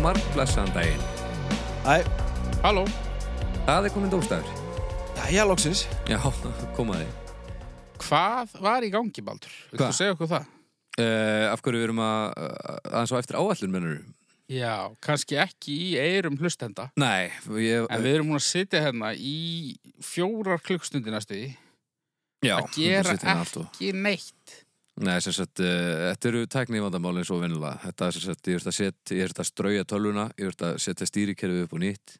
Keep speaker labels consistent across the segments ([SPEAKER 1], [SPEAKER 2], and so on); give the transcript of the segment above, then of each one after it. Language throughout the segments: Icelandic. [SPEAKER 1] blessaðan daginn.
[SPEAKER 2] Æ,
[SPEAKER 3] Halló
[SPEAKER 1] Það er komin dómstafur.
[SPEAKER 2] jæja, loksins.
[SPEAKER 1] Já, komaði.
[SPEAKER 3] Hvað var í gangi, Baldur? Viltu
[SPEAKER 1] Hvað?
[SPEAKER 3] segja okkur það?
[SPEAKER 1] Uh, af hverju við erum að, aðeins á eftir áallun, mennur?
[SPEAKER 3] Já, kannski ekki í eirum hlustenda
[SPEAKER 1] Nei, ég...
[SPEAKER 3] En við erum múin að sitja hérna í fjórar klukkstundir næstu í
[SPEAKER 1] já,
[SPEAKER 3] að gera
[SPEAKER 1] sitjum hérna allt og-
[SPEAKER 3] ekki neitt
[SPEAKER 1] Nei, sem sagt, uh, þetta eru tæknið vandamálinn svo vennilega. Þetta er sem sagt, ég er að setja, ég er að strauja tölvuna, ég er að setja stýrikerfið upp og nýtt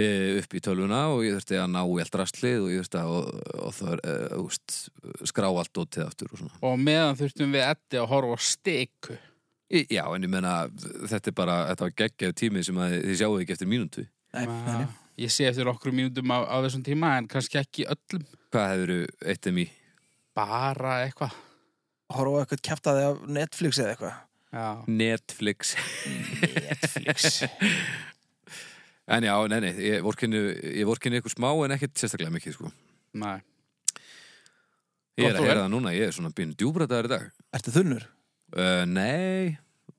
[SPEAKER 1] eh, upp í tölvuna og ég þurfti að ná í allt rastlið og ég þurfti að og, og það er, uh, úst, skrá allt dótið aftur og svona.
[SPEAKER 3] Og meðan þurftum við Eddi að horfa á steku
[SPEAKER 1] Í, já, en ég meina, þetta er bara, þetta var geggjaf tími sem að þið sjáu ekki eftir mínútu.
[SPEAKER 2] Nei, nei, nei.
[SPEAKER 3] Ég sé eftir okkur mínútum á, á þessum tíma En kannski ekki öllum
[SPEAKER 1] Hvað hefur eitt em í?
[SPEAKER 3] Bara eitthvað
[SPEAKER 2] Horfa á eitthvað kæftaði af Netflix eða eitthvað.
[SPEAKER 3] Já,
[SPEAKER 1] Netflix.
[SPEAKER 2] Netflix.
[SPEAKER 1] En já, nei, nei, ég vorkinni, ég vorkinni ykkur smá en ekkert sérstaklega mikið, sko.
[SPEAKER 3] næ
[SPEAKER 1] Ég er
[SPEAKER 3] Gott og
[SPEAKER 1] að
[SPEAKER 3] vel.
[SPEAKER 1] heyra það núna, ég er svona býn djúbrataður í dag.
[SPEAKER 2] Ertu þunnur?
[SPEAKER 1] Uh, nei,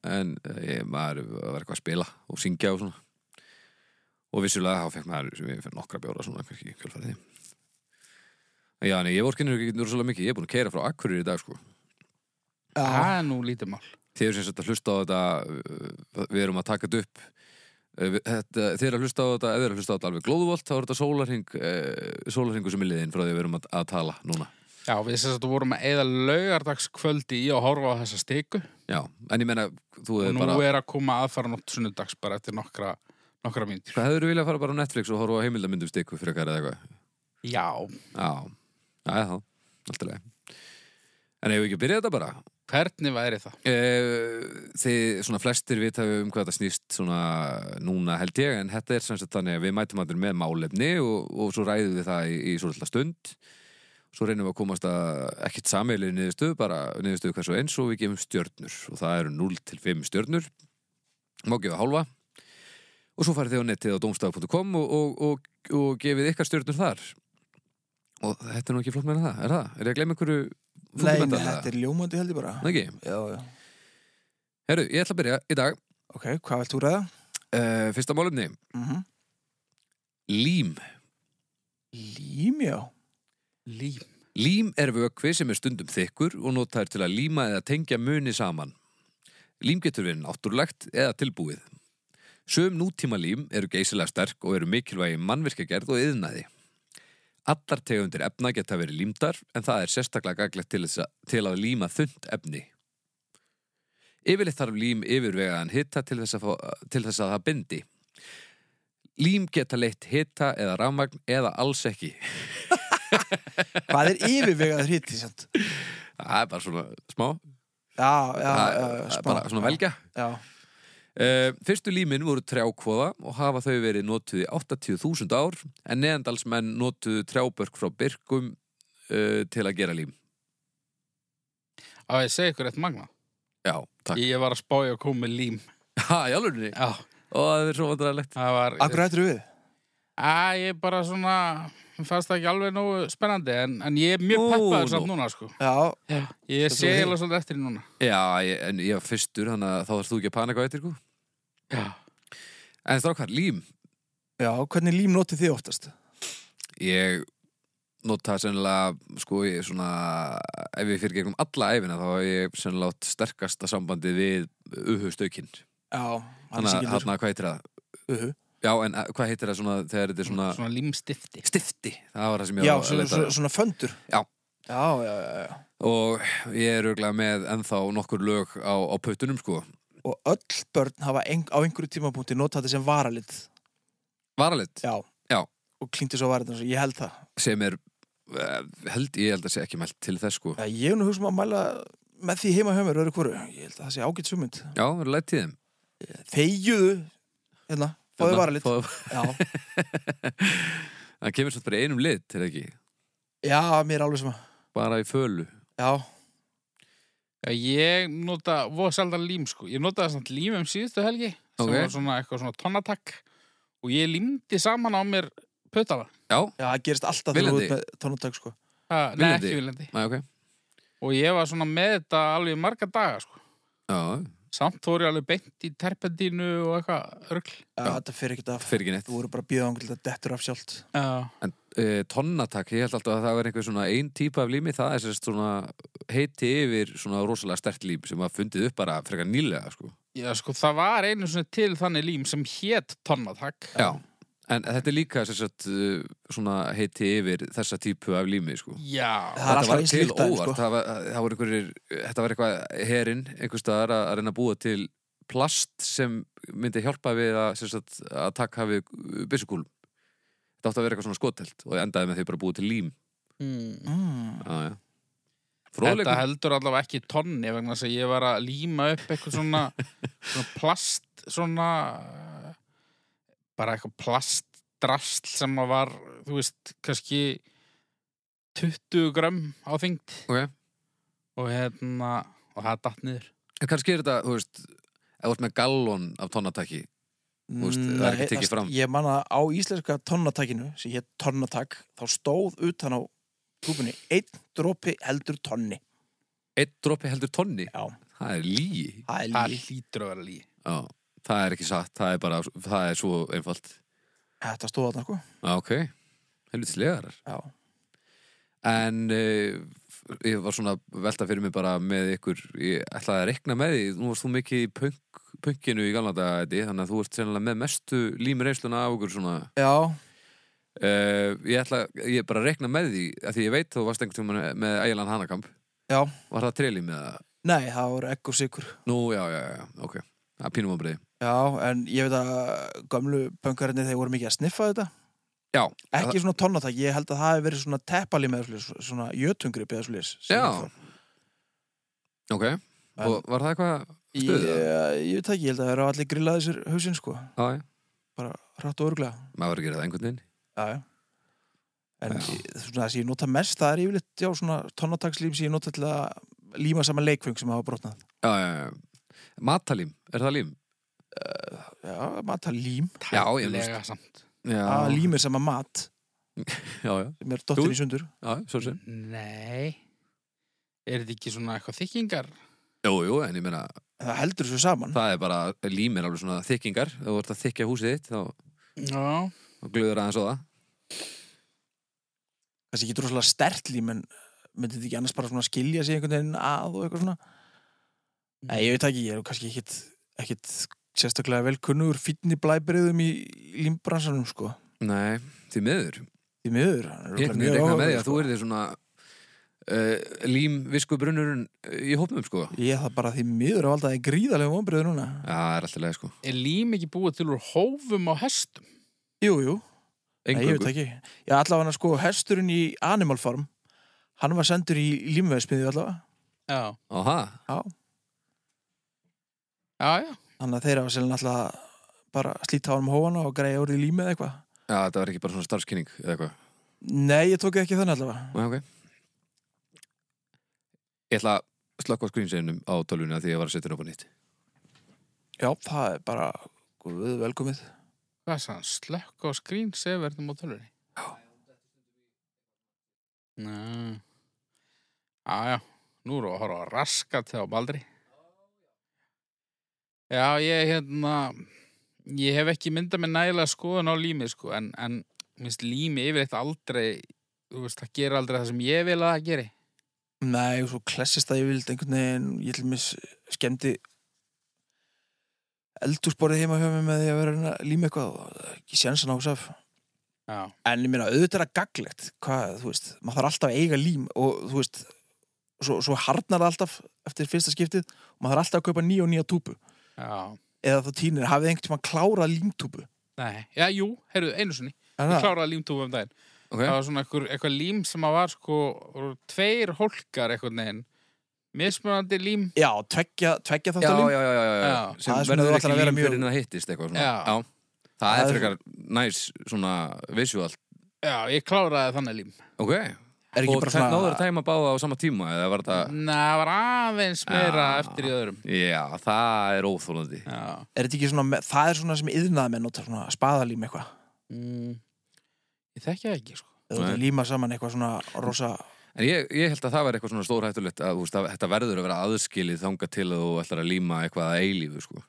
[SPEAKER 1] en uh, ég, maður var eitthvað að spila og syngja og svona. Og vissulega þá fekk maður sem ég fyrir nokkra bjóra svona kannski kjölfærið því. En Já, nei, ég vorkinni ekki nú svolítið mikið. Ég er búin að keira frá Akkurir í dag, sko.
[SPEAKER 2] Já.
[SPEAKER 3] Það er nú lítið mál
[SPEAKER 1] Þið eru sem sagt að hlusta á þetta, uh, við erum að taka þetta upp. Uh, við- Þetta, þið eru að hlusta á þetta, ef þið eru að hlusta á þetta alveg glóðvolt, þá er þetta sólarhing, uh, sólarhingu sem er liðin frá því við erum að, að tala núna.
[SPEAKER 3] Já, við sem þetta vorum að eða laugardagskvöldi í að horfa á þessa steku
[SPEAKER 1] Já, en ég meina, þú
[SPEAKER 3] Og
[SPEAKER 1] hefur
[SPEAKER 3] nú
[SPEAKER 1] bara...
[SPEAKER 3] er að koma aðfara nótt sunnudags bara eftir nokkra, nokkra mínútur.
[SPEAKER 1] Hvað hefur þú viljað fara bara á Netflix og horfa á heimildamindum stikku fyrir eða eitthvað?
[SPEAKER 3] Já,
[SPEAKER 1] Já, já, já, alltaf leið. En hefur ekki byrjað þetta bara?
[SPEAKER 3] hvernig væri það?
[SPEAKER 1] E, þið, svona flestir vita um hvað þetta snýst svona núna held ég, en þetta er sem sagt þannig að við mætum allir með málefni og, og svo ræðum við það í, í svo alltaf stund. Svo reynum við að komast að ekkit sameilir niðurstöðu, bara niðurstöðu hversu eins og við gefum stjörnur. Og það eru 0 til 5 stjörnur. Má gefa hálfa. Og svo farið þið á netið á domstaf.com og, og, og, og gefið ykkar stjörnur þar. Og þetta er nú ekki flott meina það, er það? Er ég að gleyma einhverju
[SPEAKER 2] Nei,
[SPEAKER 1] fúkubenda?
[SPEAKER 2] nei, þetta er ljómandi held ég bara.
[SPEAKER 1] Nei, ekki.
[SPEAKER 2] Já, já.
[SPEAKER 1] Herru, ég ætla að byrja í dag
[SPEAKER 2] Ok, hvað vilt þú ræða?
[SPEAKER 1] uh, Fyrsta málumni
[SPEAKER 2] Mm
[SPEAKER 1] Lím
[SPEAKER 2] Lím, já.
[SPEAKER 3] Lím.
[SPEAKER 1] Lím er vökvi sem er stundum þykkur og notaður til að líma eða tengja muni saman. Lím getur verið náttúrulegt eða tilbúið. Sum nútíma lím eru geysilega sterk og eru mikilvægi mannvirkjagerð og yðnaði. Allar tegundir efna geta verið límdar en það er sérstaklega gaglegt til, þess að, til að líma þund efni. Yfirleitt þarf lím yfirvegaðan hita til þess, að fá, til þess að það bindi. Lím geta leitt hita eða rafmagn eða alls ekki.
[SPEAKER 2] Hvað er yfirvegað hýtti, sant?
[SPEAKER 1] Það er bara svona smá
[SPEAKER 2] Já, já,
[SPEAKER 1] Það-
[SPEAKER 2] já,
[SPEAKER 1] það er
[SPEAKER 2] smá.
[SPEAKER 1] bara svona velgja
[SPEAKER 2] Já,
[SPEAKER 1] uh, Fyrstu límin voru trjákvoða og hafa þau verið notuð í 80.000 ár en neðandalsmenn notuðu trjábörk frá byrkum uh, til að gera lím
[SPEAKER 3] Á, ég segi ykkur eitt magna.
[SPEAKER 1] Já, takk
[SPEAKER 3] Ég var að spája að koma með lím.
[SPEAKER 1] Ha, í alvörunni
[SPEAKER 3] Já,
[SPEAKER 1] Ó, það er svo vandrarlegt
[SPEAKER 3] það var...
[SPEAKER 2] akkur hættur við?
[SPEAKER 3] Æ, ég bara svona, mér fannst það ekki alveg nógu spennandi, en, en ég er mjög
[SPEAKER 1] Ó,
[SPEAKER 3] peppaður
[SPEAKER 1] nú.
[SPEAKER 3] samt núna, sko.
[SPEAKER 2] Já,
[SPEAKER 3] Já. Ég
[SPEAKER 2] Þetta
[SPEAKER 3] sé
[SPEAKER 2] var
[SPEAKER 3] eiginlega svolítið eftir því núna.
[SPEAKER 1] Já, ég, en ég var fyrstur þannig að þá þarfst þú ekki að panika á eittir
[SPEAKER 3] Já.
[SPEAKER 1] En strákar, lím
[SPEAKER 2] já, hvernig lím notið þið oftast?
[SPEAKER 1] Ég nota sennilega sko ég svona ef ég fyrir gegnum alla æfina þá hef ég sennilega átt sterkasta sambandi við uhustaukinn
[SPEAKER 2] Já, hann er
[SPEAKER 1] Þannig að
[SPEAKER 2] sikildur.
[SPEAKER 1] hérna, hvað heitir það?
[SPEAKER 2] Uhu.
[SPEAKER 1] Já, en að- hvað heitir það svona þegar þetta er svona,
[SPEAKER 3] Svona, svona límstifti.
[SPEAKER 1] stifti? Það var það sem ég
[SPEAKER 2] Já,
[SPEAKER 1] var að
[SPEAKER 2] svona,
[SPEAKER 1] leita
[SPEAKER 2] svona, svona föndur.
[SPEAKER 1] Já.
[SPEAKER 2] Já, já, já, já.
[SPEAKER 1] Og ég er auðvitað með ennþá nokkur lög á, á pötunum, sko.
[SPEAKER 2] Og öll börn hafa ein, á einhverju tímapunkti notað þetta sem varalit.
[SPEAKER 1] Varalit,
[SPEAKER 2] Já.
[SPEAKER 1] Já.
[SPEAKER 2] Og klingti svo varalitna, ég held það.
[SPEAKER 1] sem er, eh, held, ég held að sé ekki mælt til þess, sko.
[SPEAKER 2] Já, ég er nú hugsa um að mæla með því heima hjá mér, öðru hverju. Ég held að það sé ágætt sumund.
[SPEAKER 1] Já, verður lætt í þeim.
[SPEAKER 2] Þeyjuðu, hérna, fáðu varalit.
[SPEAKER 1] Fáðu-
[SPEAKER 2] Já,
[SPEAKER 1] Það kemur svo bara í einum lit, er það ekki?
[SPEAKER 2] já, mér er alveg sama.
[SPEAKER 1] Bara í fölu.
[SPEAKER 2] Já,
[SPEAKER 3] Já, ég nota, voða sjaldan lím, sko. Ég notaði samt lím um síðustu helgi, sem
[SPEAKER 1] Ok.
[SPEAKER 3] var svona eitthvað svona tonnatakk, og ég límdi saman á mér pötala.
[SPEAKER 1] Já,
[SPEAKER 2] já, það gerist alltaf þegar þú
[SPEAKER 1] Viljandi.
[SPEAKER 2] ert með tónutök, sko.
[SPEAKER 3] Ha, Nei,
[SPEAKER 1] Viljandi.
[SPEAKER 3] ekki viljandi.
[SPEAKER 1] næ, ok.
[SPEAKER 3] Og ég var svona með þetta alveg í marga daga, sko.
[SPEAKER 1] Já,
[SPEAKER 3] Samt þó er ég alveg beint í terpendínu og eitthvað örgl.
[SPEAKER 2] Já, þetta fyrir ekkert af.
[SPEAKER 1] fyrir ekki neitt.
[SPEAKER 2] Þú voru bara að bíða angil þetta dettur af sjálft.
[SPEAKER 3] Já,
[SPEAKER 1] En e, tonnatak, ég held alltaf að það var einhver svona ein típa af lími, það er sérst svona heiti yfir svona rosalega stert lím sem var fundið upp bara frekar nýlega, sko.
[SPEAKER 3] já, sko, það var einu svona til þannig lím sem hét tonnatak.
[SPEAKER 1] Já. En þetta er líka sérst svona heiti yfir þessa típu af lími, sko.
[SPEAKER 2] Það
[SPEAKER 3] Já,
[SPEAKER 2] er
[SPEAKER 1] Þetta
[SPEAKER 2] alltaf
[SPEAKER 1] var
[SPEAKER 2] eins
[SPEAKER 1] til
[SPEAKER 2] líkt aðeins,
[SPEAKER 1] óvart,
[SPEAKER 2] sko.
[SPEAKER 1] það, var, það var einhverjir, þetta var eitthvað herinn, einhver staðar að, að reyna að búa til plast sem myndi hjálpa við að, sem sagt, að taka við byssukúlum. Þetta átti að vera eitthvað svona skotelt og endaði með því bara að búa til lím.
[SPEAKER 3] mm.
[SPEAKER 2] Mm.
[SPEAKER 1] Já, já.
[SPEAKER 3] þetta
[SPEAKER 1] Fróðleikur.
[SPEAKER 3] heldur allavega ekki tonni vegna þess að ég var að líma upp eitthvað svona, svona plast, svona, eh, bara eitthvað plastdrasl sem að var, þú veist, kannski 20 grömm á þyngd
[SPEAKER 1] Ok.
[SPEAKER 3] og hérna, og það datt niður.
[SPEAKER 1] En kannski er þetta, þú veist, ef þú ert með gallon af tonnataki, Þú veist, það er ekki
[SPEAKER 2] Mm, Nei,
[SPEAKER 1] tekið
[SPEAKER 2] það-
[SPEAKER 1] fram.
[SPEAKER 2] Ég man að á íslenska tonnatakinu, sem hétt tonnatak, þá stóð utan á túbunni einn dropi heldur tonni.
[SPEAKER 1] einn dropi heldur tonni,
[SPEAKER 2] Já,
[SPEAKER 1] það er lígi.
[SPEAKER 2] það er
[SPEAKER 3] Það
[SPEAKER 2] líf.
[SPEAKER 3] hlýtur að vera lí.
[SPEAKER 1] Já, það er ekki satt, það er bara, það er svo einfalt.
[SPEAKER 2] Þetta stóð þarna, sko.
[SPEAKER 1] Já, ok, helviti slegarar.
[SPEAKER 2] Já.
[SPEAKER 1] En uh, ég var svona að velta fyrir mig bara með ykkur, ég ætlaði að rekna með því, nú varst þú mikið í punk, punkinu í galna daga, Eddi, þannig að þú ert sennilega með mestu límreinsluna af okkur svona.
[SPEAKER 2] Já,
[SPEAKER 1] Uh, ég ætla, ég bara að rekna með því, af því ég veit þú varst einhvern tímann með Ægjelan Hanakamp.
[SPEAKER 2] Já.
[SPEAKER 1] Var það trelið með það?
[SPEAKER 2] nei, það voru egg og sigur.
[SPEAKER 1] Nú, já, já, já, ok. Það er pínum að breyði.
[SPEAKER 2] Já, en ég veit að gömlu pönkarinni þeir voru mikið að sniffa þetta.
[SPEAKER 1] Já,
[SPEAKER 2] Ekki svona tonnatak, ég held að það hef verið svona teppalím eða svolítið, svona jötungrip eða svolítið.
[SPEAKER 1] Já. ok. Og var það eitthvað
[SPEAKER 2] Ég,
[SPEAKER 1] stuð? eða?
[SPEAKER 2] ég veit það ekki, ég held að það eru allir grillaði sér hausinn, sko.
[SPEAKER 1] Já, já.
[SPEAKER 2] Bara rætt og örglega.
[SPEAKER 1] Maður verður að gera það einhvern veginn.
[SPEAKER 2] Já, já. En
[SPEAKER 1] Já.
[SPEAKER 2] ég- svona það sem ég nota mest, það er yfirleitt, já, svona tonnatakslím sem ég nota til að líma saman leikfeng sem hafa brotnað.
[SPEAKER 1] Já, já, já. Matalím, er það lím?
[SPEAKER 2] Já, Ah, mata lím.
[SPEAKER 1] Já, ég veist.
[SPEAKER 3] Tæplega samt.
[SPEAKER 1] Já,
[SPEAKER 2] Að límir saman mat,
[SPEAKER 1] Ah, Já, já,
[SPEAKER 2] sem er dottir
[SPEAKER 1] Þú-
[SPEAKER 2] í sundur.
[SPEAKER 1] já, svo sem.
[SPEAKER 3] Nei. Er þetta ekki svona eitthvað þykkingar?
[SPEAKER 1] Jú, jú, en ég meina,
[SPEAKER 2] En Það heldur þessu saman.
[SPEAKER 1] það er bara, lím er alveg svona þykkingar. Ef Þú ert að þykja húsið þitt, þá,
[SPEAKER 3] Já.
[SPEAKER 1] þá glöður aðeins á það.
[SPEAKER 2] Kannski ekki droslega stert lím, en myndi þetta ekki annars bara svona skilja sig einhvern veginn að og eitthvað svona. Nei, ég veit það ekki, ég er kannski ekkit, ekkit sérstaklega vel kunnur fínni blæbriðum í límbransanum, sko.
[SPEAKER 1] Nei, því miður.
[SPEAKER 2] Því miður. hann er
[SPEAKER 1] Ég
[SPEAKER 2] örugglega
[SPEAKER 1] er
[SPEAKER 2] mjög
[SPEAKER 1] reikna með því
[SPEAKER 2] áhugaverður,
[SPEAKER 1] að þú
[SPEAKER 2] sko.
[SPEAKER 1] er því svona uh, lím visku brunnurinn í hópnum, sko. Já,
[SPEAKER 2] Ég er það bara því miður að valda það er gríðarlega vonbröður núna.
[SPEAKER 1] það er alltaf leið, sko.
[SPEAKER 3] Er lím ekki búið til úr hófum á hestum?
[SPEAKER 2] Jú, jú. Nei, ég veit
[SPEAKER 1] Engöngu.
[SPEAKER 2] það ekki. Já, allavega sko, hesturinn í Animal Farm, hann var sendur í límveðsmiði allavega.
[SPEAKER 3] Já.
[SPEAKER 1] Aha,
[SPEAKER 2] Já.
[SPEAKER 3] Já, já.
[SPEAKER 2] Þannig að þeirra var sérlega alltaf bara slíta á hann um hóana og greiða úr í lími eða eitthvað.
[SPEAKER 1] já, þetta var ekki bara svona starfskynning eða eitthvað.
[SPEAKER 2] Nei, ég tók ekki þannig allavega.
[SPEAKER 1] Nei, ok. Ég ætla að slökka á skrýnseginum á tölvunni að því ég var að setja hann upp á nýtt.
[SPEAKER 2] Já, það er bara guð velkomið.
[SPEAKER 3] Hvað sann? Slökk á skrín severðum á tölunni? Já. Næ. Já, já. Nú erum við að horfa á raskat þegar á baldri. Já, ég hérna, ég hef ekki myndað með nægilega skoðun á lími, sko, en, en minnst lími yfirleitt aldrei, þú veist, það gerir aldrei það sem ég vil að það geri.
[SPEAKER 2] Nei, og svo klessist að ég vild einhvern veginn, ég til mis skemmti eldúsborðið heima hjá mig með því að vera að reyna að líma eitthvað og það er ekki sjensan á saf.
[SPEAKER 3] Já.
[SPEAKER 2] En ég meina, auðvitað er að gaglegt, hvað, þú veist, maður þarf alltaf að eiga lím og þú veist, svo, svo harnar það alltaf eftir fyrsta skiptið og maður þarf alltaf að kaupa nýja og nýja túpu
[SPEAKER 3] Já.
[SPEAKER 2] eða þá tínir, hafið einhvern tímann klárað límtúpu.
[SPEAKER 3] Nei, já, jú, heyrðu, einu sinni
[SPEAKER 2] Er
[SPEAKER 3] Ég
[SPEAKER 2] það?
[SPEAKER 3] kláraði límtúfu um daginn
[SPEAKER 1] Ok,
[SPEAKER 3] Það var svona einhver, eitthvað lím sem að var sko voru Tveir hólkar eitthvað neginn Mismunandi lím
[SPEAKER 2] Já, tveggja, tveggja
[SPEAKER 1] já,
[SPEAKER 2] þetta
[SPEAKER 1] já,
[SPEAKER 2] lím.
[SPEAKER 1] já, já, já,
[SPEAKER 3] Já.
[SPEAKER 1] sem
[SPEAKER 2] Það er svona þú
[SPEAKER 1] verður
[SPEAKER 2] ætlar
[SPEAKER 1] ekki
[SPEAKER 2] að vera
[SPEAKER 1] lím
[SPEAKER 2] mjög-
[SPEAKER 1] fyrir en það hittist eitthvað svona.
[SPEAKER 3] Já.
[SPEAKER 1] já. Það
[SPEAKER 2] Það
[SPEAKER 1] er
[SPEAKER 2] er-
[SPEAKER 1] frekar næs svona visual.
[SPEAKER 3] Já, ég kláraði þannig lím
[SPEAKER 1] Ok,
[SPEAKER 2] Er ekki
[SPEAKER 1] og
[SPEAKER 2] bara
[SPEAKER 1] það svona... náður að
[SPEAKER 2] svona,
[SPEAKER 1] tæma báða á sama tíma eða var þetta...
[SPEAKER 3] Nei, það var aðeins meira
[SPEAKER 1] Já.
[SPEAKER 3] eftir í öðrum
[SPEAKER 1] Já, það er óþólandi.
[SPEAKER 3] Já
[SPEAKER 2] er þetta ekki svona, það er svona sem yðnaða með nota, svona spaðalím eitthvað.
[SPEAKER 3] mm. Ég þekki það ekki sko
[SPEAKER 2] Eða þú ert að líma saman eitthvað svona rosa,
[SPEAKER 1] En ég, ég held að það var eitthvað svona stórhættulegt að, þú veist, að þetta verður að vera aðskilið þanga til að þú ætlar að líma eitthvað að eilífu sko.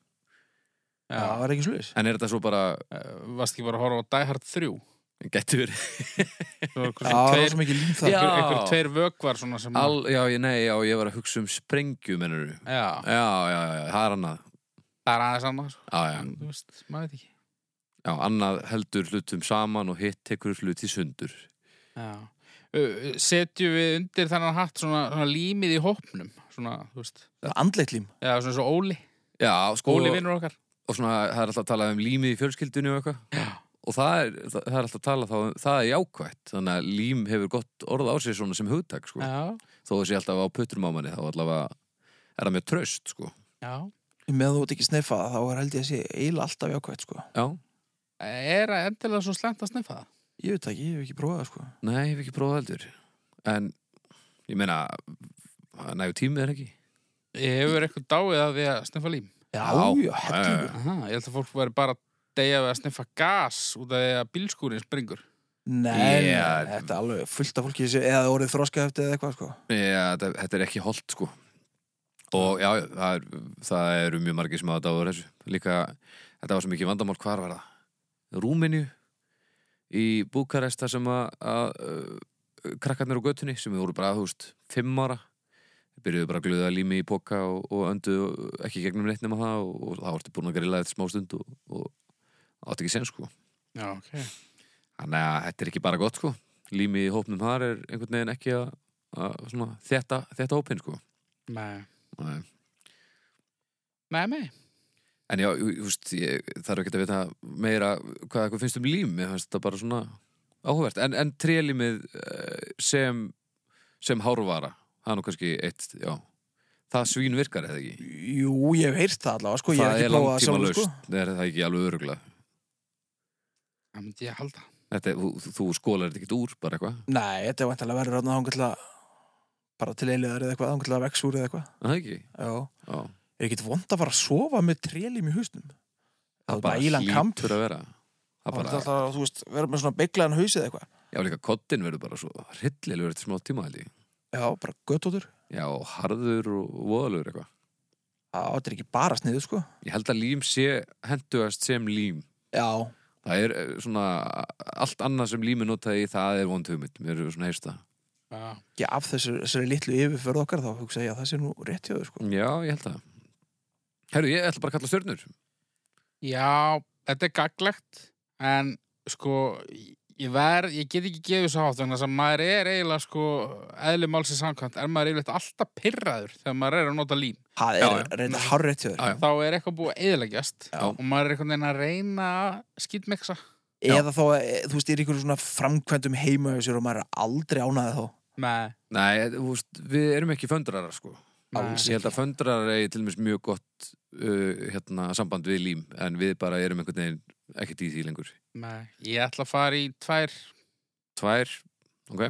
[SPEAKER 2] Já, það var ekki sluðis.
[SPEAKER 1] En er þetta svo bara,
[SPEAKER 3] Vast eh, ekki bara að horfa á Die Hard 3
[SPEAKER 1] getur verið
[SPEAKER 3] Svo var eitthvað
[SPEAKER 2] Já, það
[SPEAKER 3] svona
[SPEAKER 2] var
[SPEAKER 3] tveir,
[SPEAKER 2] svo mikið líf það.
[SPEAKER 1] Já.
[SPEAKER 3] einhver, einhver tveir vökvar svona sem
[SPEAKER 1] Al, já, ég, nei, já, ég var að hugsa um sprengju, mennur Já,
[SPEAKER 3] Já,
[SPEAKER 1] já, já, já, það er annað
[SPEAKER 3] það er aðeins annað sko.
[SPEAKER 1] Já, já,
[SPEAKER 3] En Þú veist, maður veit ekki
[SPEAKER 1] já, annað heldur hlutum saman og hitt tekur hluti sundur
[SPEAKER 3] Já Ö, Setjum við undir þennan hatt svona, svona límið í hópnum svona, þú veist
[SPEAKER 2] Andleitt lím.
[SPEAKER 3] Já, svona svo Óli,
[SPEAKER 1] Já, sko,
[SPEAKER 3] Óli vinnur okkar
[SPEAKER 1] og svona, það er alltaf að tala um límið í fjölskyldunni og eitthvað
[SPEAKER 3] Já.
[SPEAKER 1] Og það er, það, það er alltaf að tala þá um, það er jákvætt Þannig að lím hefur gott orð á sig svona sem hugtak, sko
[SPEAKER 3] Já,
[SPEAKER 1] Þó þessi alltaf á putrum á manni, þá allavega er það mjög tröst, sko
[SPEAKER 3] já
[SPEAKER 2] Með þú ert ekki snefað þá er held ég að sé eiginlega alltaf jákvæmt, sko.
[SPEAKER 1] Já,
[SPEAKER 3] Er að endilega svo slæmt að sniffa það?
[SPEAKER 2] Ég veit það ekki, ég hef ekki prófað það, sko.
[SPEAKER 1] nei, ég hef ekki prófað heldur En, ég meina, nægur tímið er ekki
[SPEAKER 3] Hefur eitthvað dáið að því að sniffa lím?
[SPEAKER 2] Já,
[SPEAKER 1] Já.
[SPEAKER 2] já, hellingur.
[SPEAKER 3] Aha, ég held að fólk væri bara að deyja við að sniffa gas út af því að bílskúrin springur
[SPEAKER 2] Nei,
[SPEAKER 1] Já.
[SPEAKER 2] nei, þetta er alveg fullt af fólki sem- eða orðið þroskað eftir eða eitthvað, sko.
[SPEAKER 1] Já, þetta, þetta er ekki holdt sko og já, já, það, er, það eru mjög margir sem að þetta voru þessu líka, þetta var svo mikið vandamál hvar var það Rúmenju í Búkarest þar sem að, að uh, krakkarnir á götunni sem voru bara, þú veist, fimm ára byrjuðu bara að gluða lími í poka og, og öndu ekki gegnum neitt nema það og, og það vartu búin að grilla þetta smá stund og, og átti ekki sen sko
[SPEAKER 3] Já, ok
[SPEAKER 1] Þannig að þetta er ekki bara gott sko Lími í hópnum þar er einhvern veginn ekki að, að svona, þetta, þetta hópinn sko
[SPEAKER 3] Nei,
[SPEAKER 1] Nei.
[SPEAKER 3] nei, nei
[SPEAKER 1] En já, þú veist, ég þarf ekki að vita meira hvað eitthvað finnst um lím Mér finnst þetta bara svona áhugavert En, en trélímið eh, sem, sem hárvara Það er nú kannski eitt, já Það svín virkar eða ekki
[SPEAKER 2] Jú, ég hef heyrt það allavega, sko. Ég hef
[SPEAKER 1] Það
[SPEAKER 2] ekki
[SPEAKER 1] er
[SPEAKER 2] prófað það
[SPEAKER 1] langtíma
[SPEAKER 2] sjálf,
[SPEAKER 1] laust
[SPEAKER 2] sko.
[SPEAKER 1] Það er það ekki alveg öruglega
[SPEAKER 3] Það myndi ég halda
[SPEAKER 1] Þetta, er- þú, þú skólar þetta ekki úr, bara eitthvað
[SPEAKER 2] Nei, þetta er vantilega verið ráðna þangað til að bara til eiliðar eða eitthvað, þangað til að vex úr eða eitthvað.
[SPEAKER 1] Er Það ekki,
[SPEAKER 2] Já.
[SPEAKER 1] já
[SPEAKER 2] Er ekki vond að fara að sofa með trélum í hausnum? Það er bara ílan kamp.
[SPEAKER 1] hlýtur að vera Það
[SPEAKER 2] Það er
[SPEAKER 1] bara,
[SPEAKER 2] alltaf að, þú veist, vera með svona beiglaðan haus eða eitthvað.
[SPEAKER 1] já líka koddin verður bara svo hryllilegur eftir smá tíma held ég
[SPEAKER 2] Já, bara göttótur.
[SPEAKER 1] Já, og harður og voðalegur eitthvað
[SPEAKER 2] Já, þetta er ekki bara sniðu, sko.
[SPEAKER 1] Ég held að lím sé henduast sem lím
[SPEAKER 2] Já.
[SPEAKER 1] Það er eh, svona allt annað sem lími notaði í það er vond hugmynd Mér er svona heist það
[SPEAKER 3] Já,
[SPEAKER 2] Ekki af þessu, þessari litlu yfirferð okkar þá hugsa ég að það sé nú rétt hjá þau, sko.
[SPEAKER 1] Já, ég held það Herru, ég ætla bara að kalla stjörnur
[SPEAKER 3] já þetta er gaglegt En sko, ég verð, ég get ekki gefið svo hátt Þannig að maður er eiginlega sko, eðli málsins samkvæmt Er maður eiginlega alltaf pirraður þegar maður er að nota lím
[SPEAKER 2] Það
[SPEAKER 1] Já,
[SPEAKER 2] er reynda hár rétt hjá
[SPEAKER 1] Já,
[SPEAKER 2] þau.
[SPEAKER 1] já.
[SPEAKER 3] Þá er eitthvað búið að eðilegjast
[SPEAKER 1] Já.
[SPEAKER 3] Og maður er einhvern veginn að reyna að skýtmeksa
[SPEAKER 2] Eða þá, að, e, þú veist, er ykkur svona framkvæmdum heima hjá sér og maður er aldrei ánaði þá.
[SPEAKER 3] Nei,
[SPEAKER 1] Nei, eh, þú veist, við erum ekki föndrarar sko
[SPEAKER 3] nei.
[SPEAKER 2] Alls
[SPEAKER 1] Ég held að föndrarar eigi til mér mjög gott uh, hérna, samband við lím En við bara erum einhvern veginn ekkert í því lengur
[SPEAKER 3] Nei, ég ætla að fara í tvær
[SPEAKER 1] Tvær, ok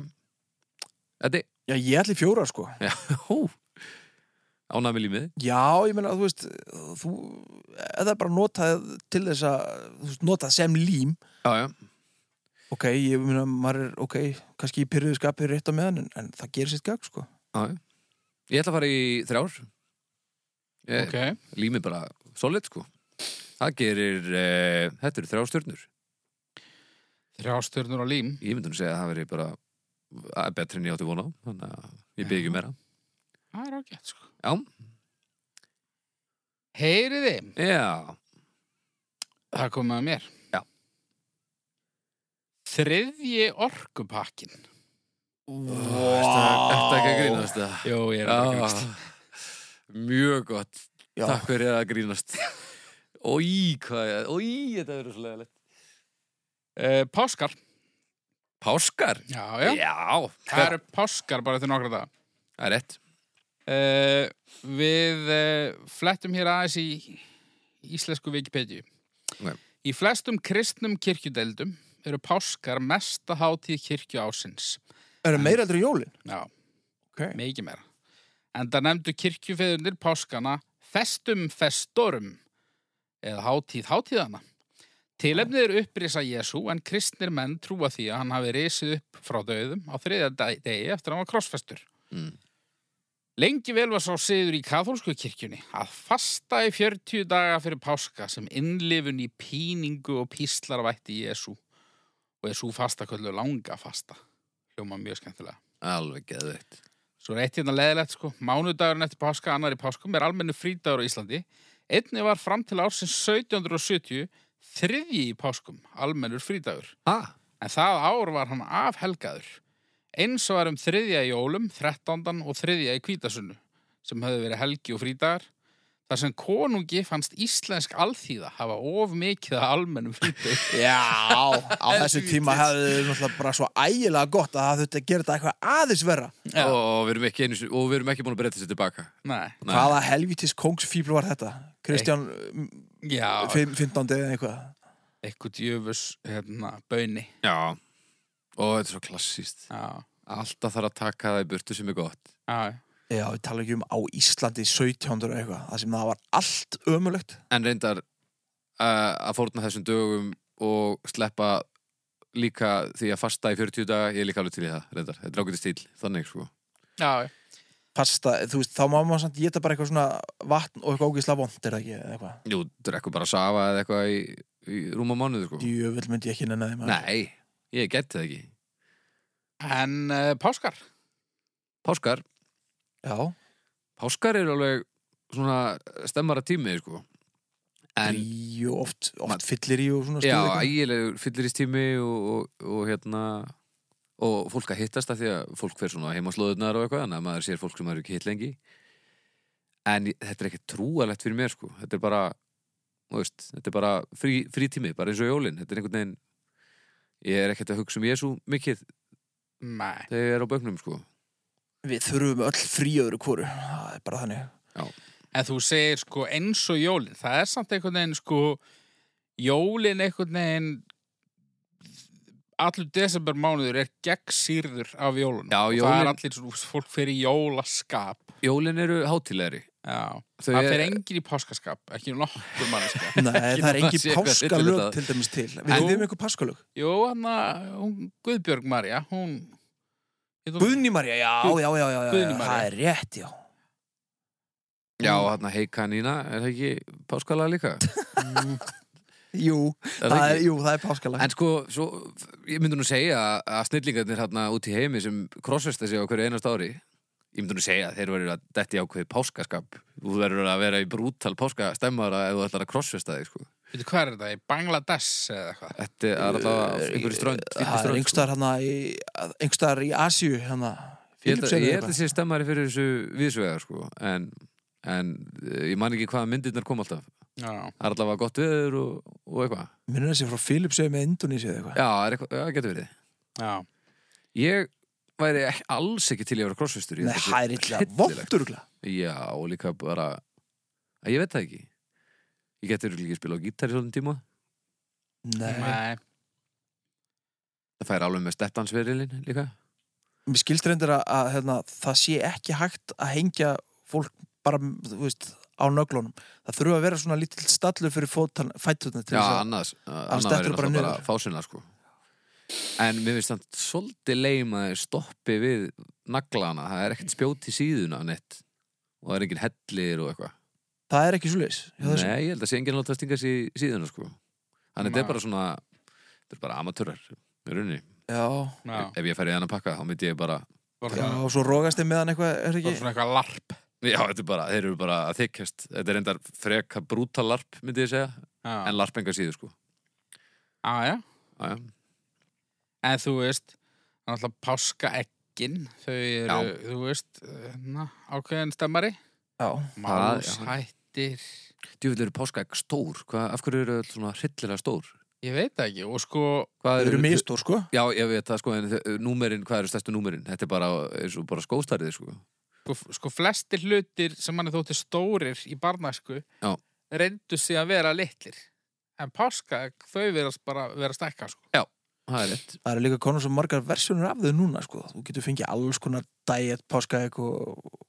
[SPEAKER 1] Eddi,
[SPEAKER 2] Já, ég ætli fjórar, sko.
[SPEAKER 1] hú Ánæmi límið
[SPEAKER 2] Já, ég meina, þú veist, þú, eða bara notað til þess að, þú veist, notað sem lím,
[SPEAKER 1] Já, já,
[SPEAKER 2] ok, ég meina, maður er, ok, kannski í pyrruðu skapið rétt á meðan, en, en það gerir sitt gag, sko.
[SPEAKER 1] já, já. Ég ætla að fara í þrjár ég,
[SPEAKER 3] Ok
[SPEAKER 1] Límið bara solid sko Það gerir, eh, þetta eru þrjár stjörnur
[SPEAKER 3] Þrjá stjörnur á lím
[SPEAKER 1] Ég myndi nú segja að það veri bara eh, betri en ég átti vona á Þannig að ég byggjum meira
[SPEAKER 3] Það er ágætt sko
[SPEAKER 1] Já.
[SPEAKER 3] Heyriði,
[SPEAKER 1] Já,
[SPEAKER 3] það komið að mér
[SPEAKER 1] Já.
[SPEAKER 3] Þriðji orkupakkin
[SPEAKER 1] þetta ekki að grínast það
[SPEAKER 3] Jó, ég er að
[SPEAKER 1] Já,
[SPEAKER 3] grínast
[SPEAKER 1] mjög gott
[SPEAKER 2] Já,
[SPEAKER 1] Takk fyrir að grínast Ói, hvað er, ói, þetta verður svo leiðilegt
[SPEAKER 3] uh, Páskar
[SPEAKER 1] Páskar?
[SPEAKER 3] Já, já, það
[SPEAKER 1] það er,
[SPEAKER 3] eru páskar bara til nokkra dag
[SPEAKER 1] það er rétt
[SPEAKER 3] uh, Við uh, flettum hér aðeins í íslensku Wikipedia
[SPEAKER 1] Ok.
[SPEAKER 3] Í flestum kristnum kirkjudeldum eru páskar mesta hátíð kirkju ásins
[SPEAKER 2] eru meira heldur en jólin?
[SPEAKER 3] Já,
[SPEAKER 2] Ok.
[SPEAKER 3] mikið meira. En það nefndu kirkjufeðunir páskana festum festorum eða hátíð hátíðana Tilefnið er upprisa Jésu en kristnir menn trúa því að hann hafi risið upp frá döðum á þriðja dag- degi eftir að hann var krossfestur.
[SPEAKER 1] Mm.
[SPEAKER 3] Lengi vel var sá siður í katholsku kirkjunni að fasta í 40 daga fyrir páska sem innlifun í píningu og píslarvætti Jésu og er svo fasta köllu langa fasta. Hljóma mjög skemmtilega.
[SPEAKER 1] Alveg geðveitt.
[SPEAKER 3] Svo er eitt hérna leðilegt sko. Mánudagurinn eftir páska, annar í páskum er almennu frídagur á Íslandi. Einni var fram til ársins 1770 þriðji í páskum, almennur frídagur.
[SPEAKER 1] Ha?
[SPEAKER 3] En það ár var hann afhelgaður. Eins var um þriðja í jólum, þrettándan og þriðja í kvítasunnu, sem höfðu verið helgi og frídagar. Þar sem konungi fannst íslensk alþýða hafa of mikið að almennum frídagur.
[SPEAKER 2] Já, á þessu tíma hefðu þau náttúrulega bara svo ægilega gott að það þurfti að gera þetta eitthvað aðeins verra.
[SPEAKER 3] Já.
[SPEAKER 1] Og við erum ekki, einu sinni- og við erum ekki búin að breyta sér tilbaka.
[SPEAKER 3] Nei,
[SPEAKER 1] Nei.
[SPEAKER 2] Hvaða helvitis kongsfíbl var þetta? Kristján mm,
[SPEAKER 3] já,
[SPEAKER 2] fimm- 15. eða eitthvað.
[SPEAKER 3] eitthvað djöfus, hérna, bönni.
[SPEAKER 1] Já. Og þetta er svo klassíst.
[SPEAKER 3] Já,
[SPEAKER 1] Alltaf þarf að taka það í burtu sem er gott.
[SPEAKER 3] já,
[SPEAKER 2] Já, við tala ekki um á Íslandi 17. eða eitthvað, það sem það var allt ömulegt.
[SPEAKER 1] En reyndar uh, að fórna þessum dögum og sleppa líka því að fasta í 40 daga, ég er líka alveg til í það, reyndar. Þetta er ágætið stíl, þannig sko.
[SPEAKER 3] já, já.
[SPEAKER 2] Fasta, þú veist, þá má maður samt geta bara eitthvað svona vatn og eitthvað ógeðslega vond, er það ekki eða eitthvað?
[SPEAKER 1] Jú, drekku bara safa eða eitthvað í, í rúma mánuðu sko.
[SPEAKER 2] Jöfnvel myndi ég ekki nenni þeim
[SPEAKER 1] Nei, ég geti það ekki.
[SPEAKER 3] En uh, páskar?
[SPEAKER 1] Páskar,
[SPEAKER 2] Já,
[SPEAKER 1] páskar eru alveg svona stemmara tími sko. En
[SPEAKER 2] í og oft,
[SPEAKER 1] Man-
[SPEAKER 2] oft fyllir í og svona stuð
[SPEAKER 1] Já,
[SPEAKER 2] eitthvað.
[SPEAKER 1] ægilegur fylliristími og, og, og hérna og fólk að hittast af því að fólk fer svona heimaslóðunar og eitthvað, þannig að maður sér fólk sem maður er ekki hitt lengi en ég- þetta er ekki trúalegt fyrir mér sko, þetta er bara þú veist, þetta er bara frí, frítími, bara eins og jólin, þetta er einhvern veginn ég er ekkert að hugsa um Jésu mikið
[SPEAKER 3] Nei.
[SPEAKER 1] þegar ég er á bögnum sko
[SPEAKER 2] Við þurfum öll frí öðru kóru, það er bara þannig.
[SPEAKER 3] En þú segir sko eins og jólin, það er samt einhvern veginn sko, jólin einhvern veginn, allur desember mánuður er gegnsýrður af jólunum.
[SPEAKER 1] Já,
[SPEAKER 3] Og það
[SPEAKER 1] jólin-
[SPEAKER 3] er allir svona, fólk fyrir jólaskap.
[SPEAKER 1] Jólin eru hátilegri
[SPEAKER 3] Já,
[SPEAKER 1] Þau
[SPEAKER 3] það
[SPEAKER 1] er-
[SPEAKER 3] fyrir engin í páskaskap, ekki nokkur manneskja.
[SPEAKER 2] Nei, það er
[SPEAKER 1] maður sé
[SPEAKER 2] engin
[SPEAKER 1] eitthvað
[SPEAKER 2] páskalög
[SPEAKER 1] villilegt að-
[SPEAKER 2] til dæmis til. Við
[SPEAKER 3] En-
[SPEAKER 2] en... hefum einhver páskalög.
[SPEAKER 3] Jú, hann að, hún, Guðbjörg Marja, hún... hét hún-
[SPEAKER 2] Guðni Marja, já,
[SPEAKER 3] Guð-
[SPEAKER 2] já, já, já, já,
[SPEAKER 3] Guðný
[SPEAKER 2] já,
[SPEAKER 3] María.
[SPEAKER 2] það er rétt, já.
[SPEAKER 1] Já, hann að heika nína, er það ekki páskalega líka?
[SPEAKER 2] Jú,
[SPEAKER 1] Er
[SPEAKER 2] það er, jú, það er páskalag.
[SPEAKER 1] En sko, svo, ég myndi nú segja að snillingarnir hérna út í heimi sem krossvesta sig á hverju einast ári ég myndi nú segja að þeir verður að detti ákveð páskaskap þú verður að vera í brútal páska stemmara ef þú ætlar að krossvesta þig sko.
[SPEAKER 3] Veitu hvað er þetta, í Bangladesh eða eitthvað?
[SPEAKER 1] Þetta er alltaf á einhverju strönd
[SPEAKER 2] Uh,
[SPEAKER 1] sko.
[SPEAKER 2] Það er einhverstaðar hana í, einhverstaðar í Asju,
[SPEAKER 1] Ég
[SPEAKER 2] hana,
[SPEAKER 1] held að-
[SPEAKER 2] Filipseyri
[SPEAKER 1] ég
[SPEAKER 2] eða
[SPEAKER 1] held að
[SPEAKER 2] eitthvað.
[SPEAKER 1] sé stemmari fyrir þessu viðsvegar sko. en, en eh, ég man ekki hvaða myndirnar kom alltaf
[SPEAKER 3] Já.
[SPEAKER 1] Það er alltaf að gott veður og, og eitthvað
[SPEAKER 2] Minnir þessi frá Filipsauði með Indonési eða eitthvað.
[SPEAKER 1] Já, það er eitthvað- já, getur verið
[SPEAKER 3] Já.
[SPEAKER 1] Ég væri ek- alls ekki til í að vera krossvestur
[SPEAKER 2] Nei, það er illa vondur,
[SPEAKER 1] Já, og líka bara að ég veit það ekki Ég geti örugglega ekki að spila á gítar í svona tíma
[SPEAKER 2] Nei,
[SPEAKER 3] Nei.
[SPEAKER 1] Það fær alveg með stettansverilin líka
[SPEAKER 2] mér skilst reyndir að, að hérna, það sé ekki hægt að hengja fólk bara, þú veist, á nöglunum það þurfa að vera svona lítill stallur fyrir fótan, fætutna til
[SPEAKER 1] Já,
[SPEAKER 2] þess að
[SPEAKER 1] annars Annars
[SPEAKER 2] annars
[SPEAKER 1] verður
[SPEAKER 2] dettur bara
[SPEAKER 1] náttúrulega bara
[SPEAKER 2] niður.
[SPEAKER 1] fásinna sko En mér finnst þannig svolítið leim að þeir stoppi við naglana Það er ekkert spjót í síðuna neitt Og það er enginn hellir og eitthvað
[SPEAKER 2] það er ekki svo leis
[SPEAKER 1] Nei, ég held að sé enginn að láta að stinga sér í síðuna sko Þannig þetta
[SPEAKER 3] Nei.
[SPEAKER 1] er bara svona Þetta er bara amatúrar í rauninni
[SPEAKER 2] já,
[SPEAKER 3] Já.
[SPEAKER 1] Ef ég færi í hann að pakka þá myndi ég bara
[SPEAKER 3] Bara
[SPEAKER 2] já,
[SPEAKER 3] svona-
[SPEAKER 2] og svo rogast þið meðan eitthvað er
[SPEAKER 3] bara
[SPEAKER 2] ekki,
[SPEAKER 3] svona eitthvað larp.
[SPEAKER 1] Já, þetta er bara, þeir eru bara að þykjast Þetta er endar freka brútal larp, myndi ég segja
[SPEAKER 3] Já.
[SPEAKER 1] En larp enga síður, sko
[SPEAKER 3] Já, já.
[SPEAKER 1] Já, já.
[SPEAKER 3] En þú veist, það er alltaf páskaeggin, þau eru,
[SPEAKER 1] Já.
[SPEAKER 3] þú veist, na, ákveðin stemmari.
[SPEAKER 2] já,
[SPEAKER 1] Það- já.
[SPEAKER 3] Málshættir,
[SPEAKER 1] Djúvill eru páskaegg stór Hva, Af hverju eru öll svona hryllilega stór?
[SPEAKER 3] ég veit það ekki. Og sko,
[SPEAKER 1] Hvað
[SPEAKER 2] þau eru mistór sko
[SPEAKER 1] Já, ég veit það, sko, en þau- númerin, hvað eru stærstu númerin? Þetta er bara, eins og bara skóstarið, sko
[SPEAKER 3] sko, sko flestir hlutir sem manni þótti stórir í barnæsku
[SPEAKER 1] Já.
[SPEAKER 3] reyndu sig að vera litlir. En páskaegg, þau verðast bara vera stekka, sko.
[SPEAKER 1] Það er rétt
[SPEAKER 2] það eru líka konur sem margar versjónur af þau núna sko, þú getur fengið alls konar diet, páska eitthvað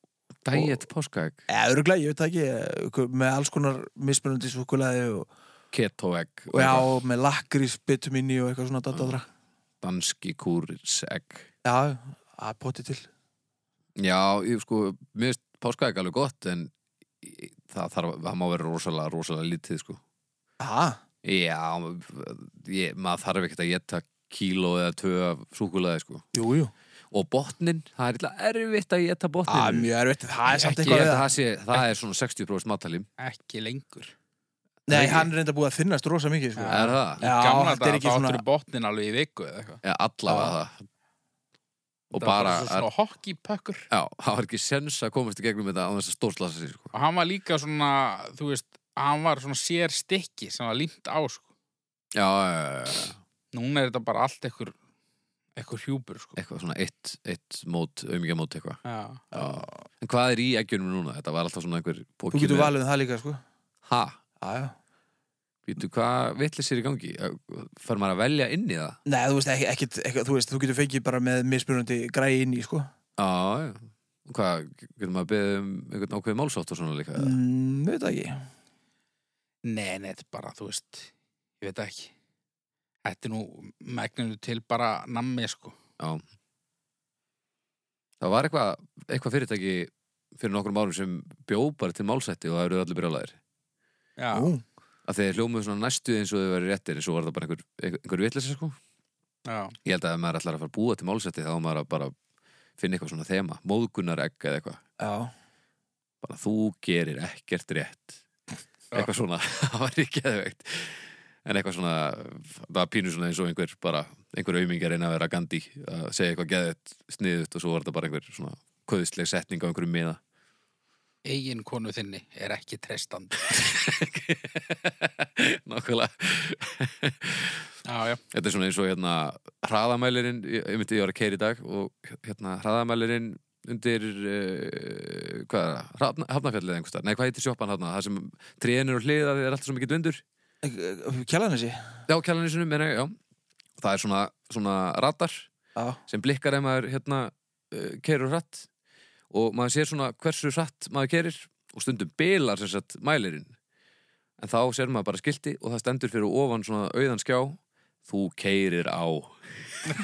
[SPEAKER 1] Dæjett páskaegg
[SPEAKER 2] öruglega, ég veit það ekki eh, eitthvað með alls konar mismunandi svokulæði og,
[SPEAKER 1] keto-egg og
[SPEAKER 2] Já,
[SPEAKER 1] eitthvað. Mm.
[SPEAKER 2] með lakrís, bituminni og eitthvað svona datadra
[SPEAKER 1] danski kúris-egg.
[SPEAKER 2] Já, að poti til
[SPEAKER 1] Já, ég sko, mér finnst páskaegg alveg gott, en í- það, þarf, það má vera rosalega, rosalega lítið, sko.
[SPEAKER 2] Já,
[SPEAKER 1] Já, ég, maður þarf ekkert að geta kíló eða tvö af súkulaði, sko.
[SPEAKER 2] jú, jú
[SPEAKER 1] Og botnin, það er illa erfitt að geta botnin.
[SPEAKER 2] Að mjög erfitt, Ah, það er samt
[SPEAKER 1] Ekki, ég held
[SPEAKER 2] eitthvað við
[SPEAKER 1] að
[SPEAKER 2] það.
[SPEAKER 1] það, sé, það er svona 60% matalím.
[SPEAKER 3] Ekki lengur.
[SPEAKER 2] Nei,
[SPEAKER 1] ekki.
[SPEAKER 2] hann er enda búið að þinnast rosa mikið sko.
[SPEAKER 1] Er það?
[SPEAKER 3] Í
[SPEAKER 2] Já,
[SPEAKER 3] gamla
[SPEAKER 2] þetta er
[SPEAKER 3] daga
[SPEAKER 2] ekki
[SPEAKER 3] þá
[SPEAKER 2] svona-
[SPEAKER 3] áttur í botnin alveg í viku eða eitthvað.
[SPEAKER 1] Já,
[SPEAKER 2] Ah.
[SPEAKER 1] allavega það. Og
[SPEAKER 3] Það var
[SPEAKER 1] bara,
[SPEAKER 3] svo svona hockeypökkur.
[SPEAKER 1] já, það var ekki sens að komast í gegnum þetta á þess að stórslasa sér, sko.
[SPEAKER 3] Og hann var líka svona, þú veist, hann var svona sér stykki sem var límt á, sko.
[SPEAKER 1] Já, já, já, já, já.
[SPEAKER 3] Núna er þetta bara allt ekkur, ekkur hjúpur, sko.
[SPEAKER 1] eitthvað svona eitt, eitt mót, auðmíkja mót eitthvað.
[SPEAKER 3] Já.
[SPEAKER 1] Já. En hvað er í eggjunum núna? Þetta var alltaf svona einhver bóki
[SPEAKER 2] Þú getur valið um það líka sko.
[SPEAKER 1] Ha,
[SPEAKER 2] Já, já
[SPEAKER 1] býtu, hvað vitlis er í gangi? Fær maður að velja inn í það?
[SPEAKER 2] Nei, þú veist, ekki, ekki, ekki, þú veist, þú getur fengið bara með mismunandi græði inn í, sko.
[SPEAKER 1] Já, já. Og Hvað, getur maður að beða um einhvern ákveðið málsátt og svona líka? Mm.
[SPEAKER 2] Mm, veit það ekki.
[SPEAKER 3] Nei, nei, þetta er bara, þú veist, ég veit það ekki. Þetta er nú megninu til bara nammi, sko.
[SPEAKER 1] Það var eitthvað, eitthvað fyrirtæki fyrir nokkrum árum sem bjó bara til málsætti og það eru allir brjálæðir.
[SPEAKER 3] Já.
[SPEAKER 2] Nú,
[SPEAKER 1] Að þeir hljómuðu svona næstu eins og þau verið réttir en svo var það bara einhver, einhver vitleysa sko.
[SPEAKER 3] Já.
[SPEAKER 1] Ég held að ef maður ætlar að fara að búa til málsætti þá á maður að bara finna eitthvað svona þema, móðgunaregg eða eitthvað.
[SPEAKER 2] já.
[SPEAKER 1] Bara þú gerir ekkert rétt. Eitthvað svona, það var ekki eðveikt. En eitthvað svona, það var pínu svona eins og einhver bara, einhver aumingja reyna að vera Gandhi að segja eitthvað geðið sniðut og svo var þetta bara einhver svona köðisleg setning á einhverjum miða.
[SPEAKER 3] Egin konu þinni er ekki trestandi.
[SPEAKER 1] Nákvæmlega.
[SPEAKER 3] Já, já.
[SPEAKER 1] Þetta er svona eins og hérna hraðamælirinn, ég ég myndi ég var að keira í dag og hérna hraðamælirinn undir uh, hvað er það, Hrafna- hafnafjallið einhvers staðar. nei hvað heitir sjoppan hafna, það sem tréin eru hliða því það er alltaf svo mikið vindur,
[SPEAKER 2] eh, Kjallanessi?
[SPEAKER 1] já kjalanissunum meina, ég, já, það er svona, svona radar
[SPEAKER 2] Já.
[SPEAKER 1] sem blikkar ef maður hérna uh, keirur hratt og maður sér svona hversu hratt maður kerir og stundum bilar sem sagt mælirinn en þá sér maður bara skilti og það stendur fyrir ofan svona auðan skjá þú keirir á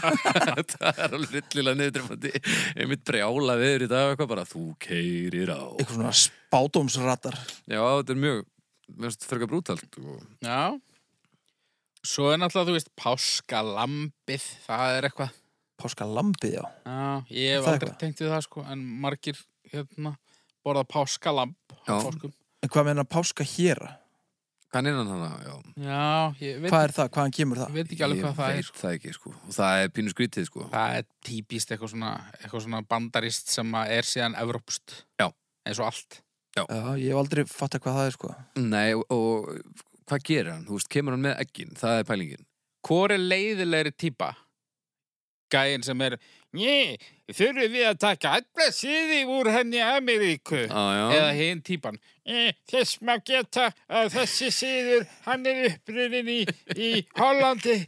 [SPEAKER 1] það er alveg rillilega niðurdrefandi einmitt brjála viður í dag og eitthvað bara þú keirir á
[SPEAKER 2] Eitthvað svona spátumsratar.
[SPEAKER 1] já þetta er mjög mér finnst fyrir að brútalt og...
[SPEAKER 3] Já. Svo er náttúrulega, þú veist, páskalambið, það er eitthvað.
[SPEAKER 2] Páska lambið, já.
[SPEAKER 3] Já, ég hef
[SPEAKER 2] Það er
[SPEAKER 3] aldrei
[SPEAKER 2] eitthvað.
[SPEAKER 3] tengt við það, sko, en margir, hérna, borða páskalamb á
[SPEAKER 1] Já.
[SPEAKER 3] páskum.
[SPEAKER 2] En hvað meina páska hér?
[SPEAKER 1] kann innan hana já
[SPEAKER 3] Já, ég veit,
[SPEAKER 2] Hvað er það? Hvaðan kemur
[SPEAKER 3] ég
[SPEAKER 2] það?
[SPEAKER 3] veit ekki alveg hvað það er,
[SPEAKER 1] veit
[SPEAKER 3] sko.
[SPEAKER 1] það ekki sko og það er pínu skrítið sko
[SPEAKER 3] Það er típist eitthvað svona, eitthvað svona bandarist sem að er síðan evrópst.
[SPEAKER 1] Já.
[SPEAKER 3] Eins og allt.
[SPEAKER 2] Já, ég hef aldrei fatt hvað það er, sko.
[SPEAKER 1] Nei, og, og hvað gerir hann? Þú veist, kemur hann með eggin, það er pælingin.
[SPEAKER 3] Hvor er leiðilegri típa? Gæin sem er, njö, þurfum við að taka allra síði úr henni Ameríku.
[SPEAKER 1] Ah,
[SPEAKER 3] eða hinn típan "Eh, þess má geta að þessi síður hann er upprunnin í, í Hollandi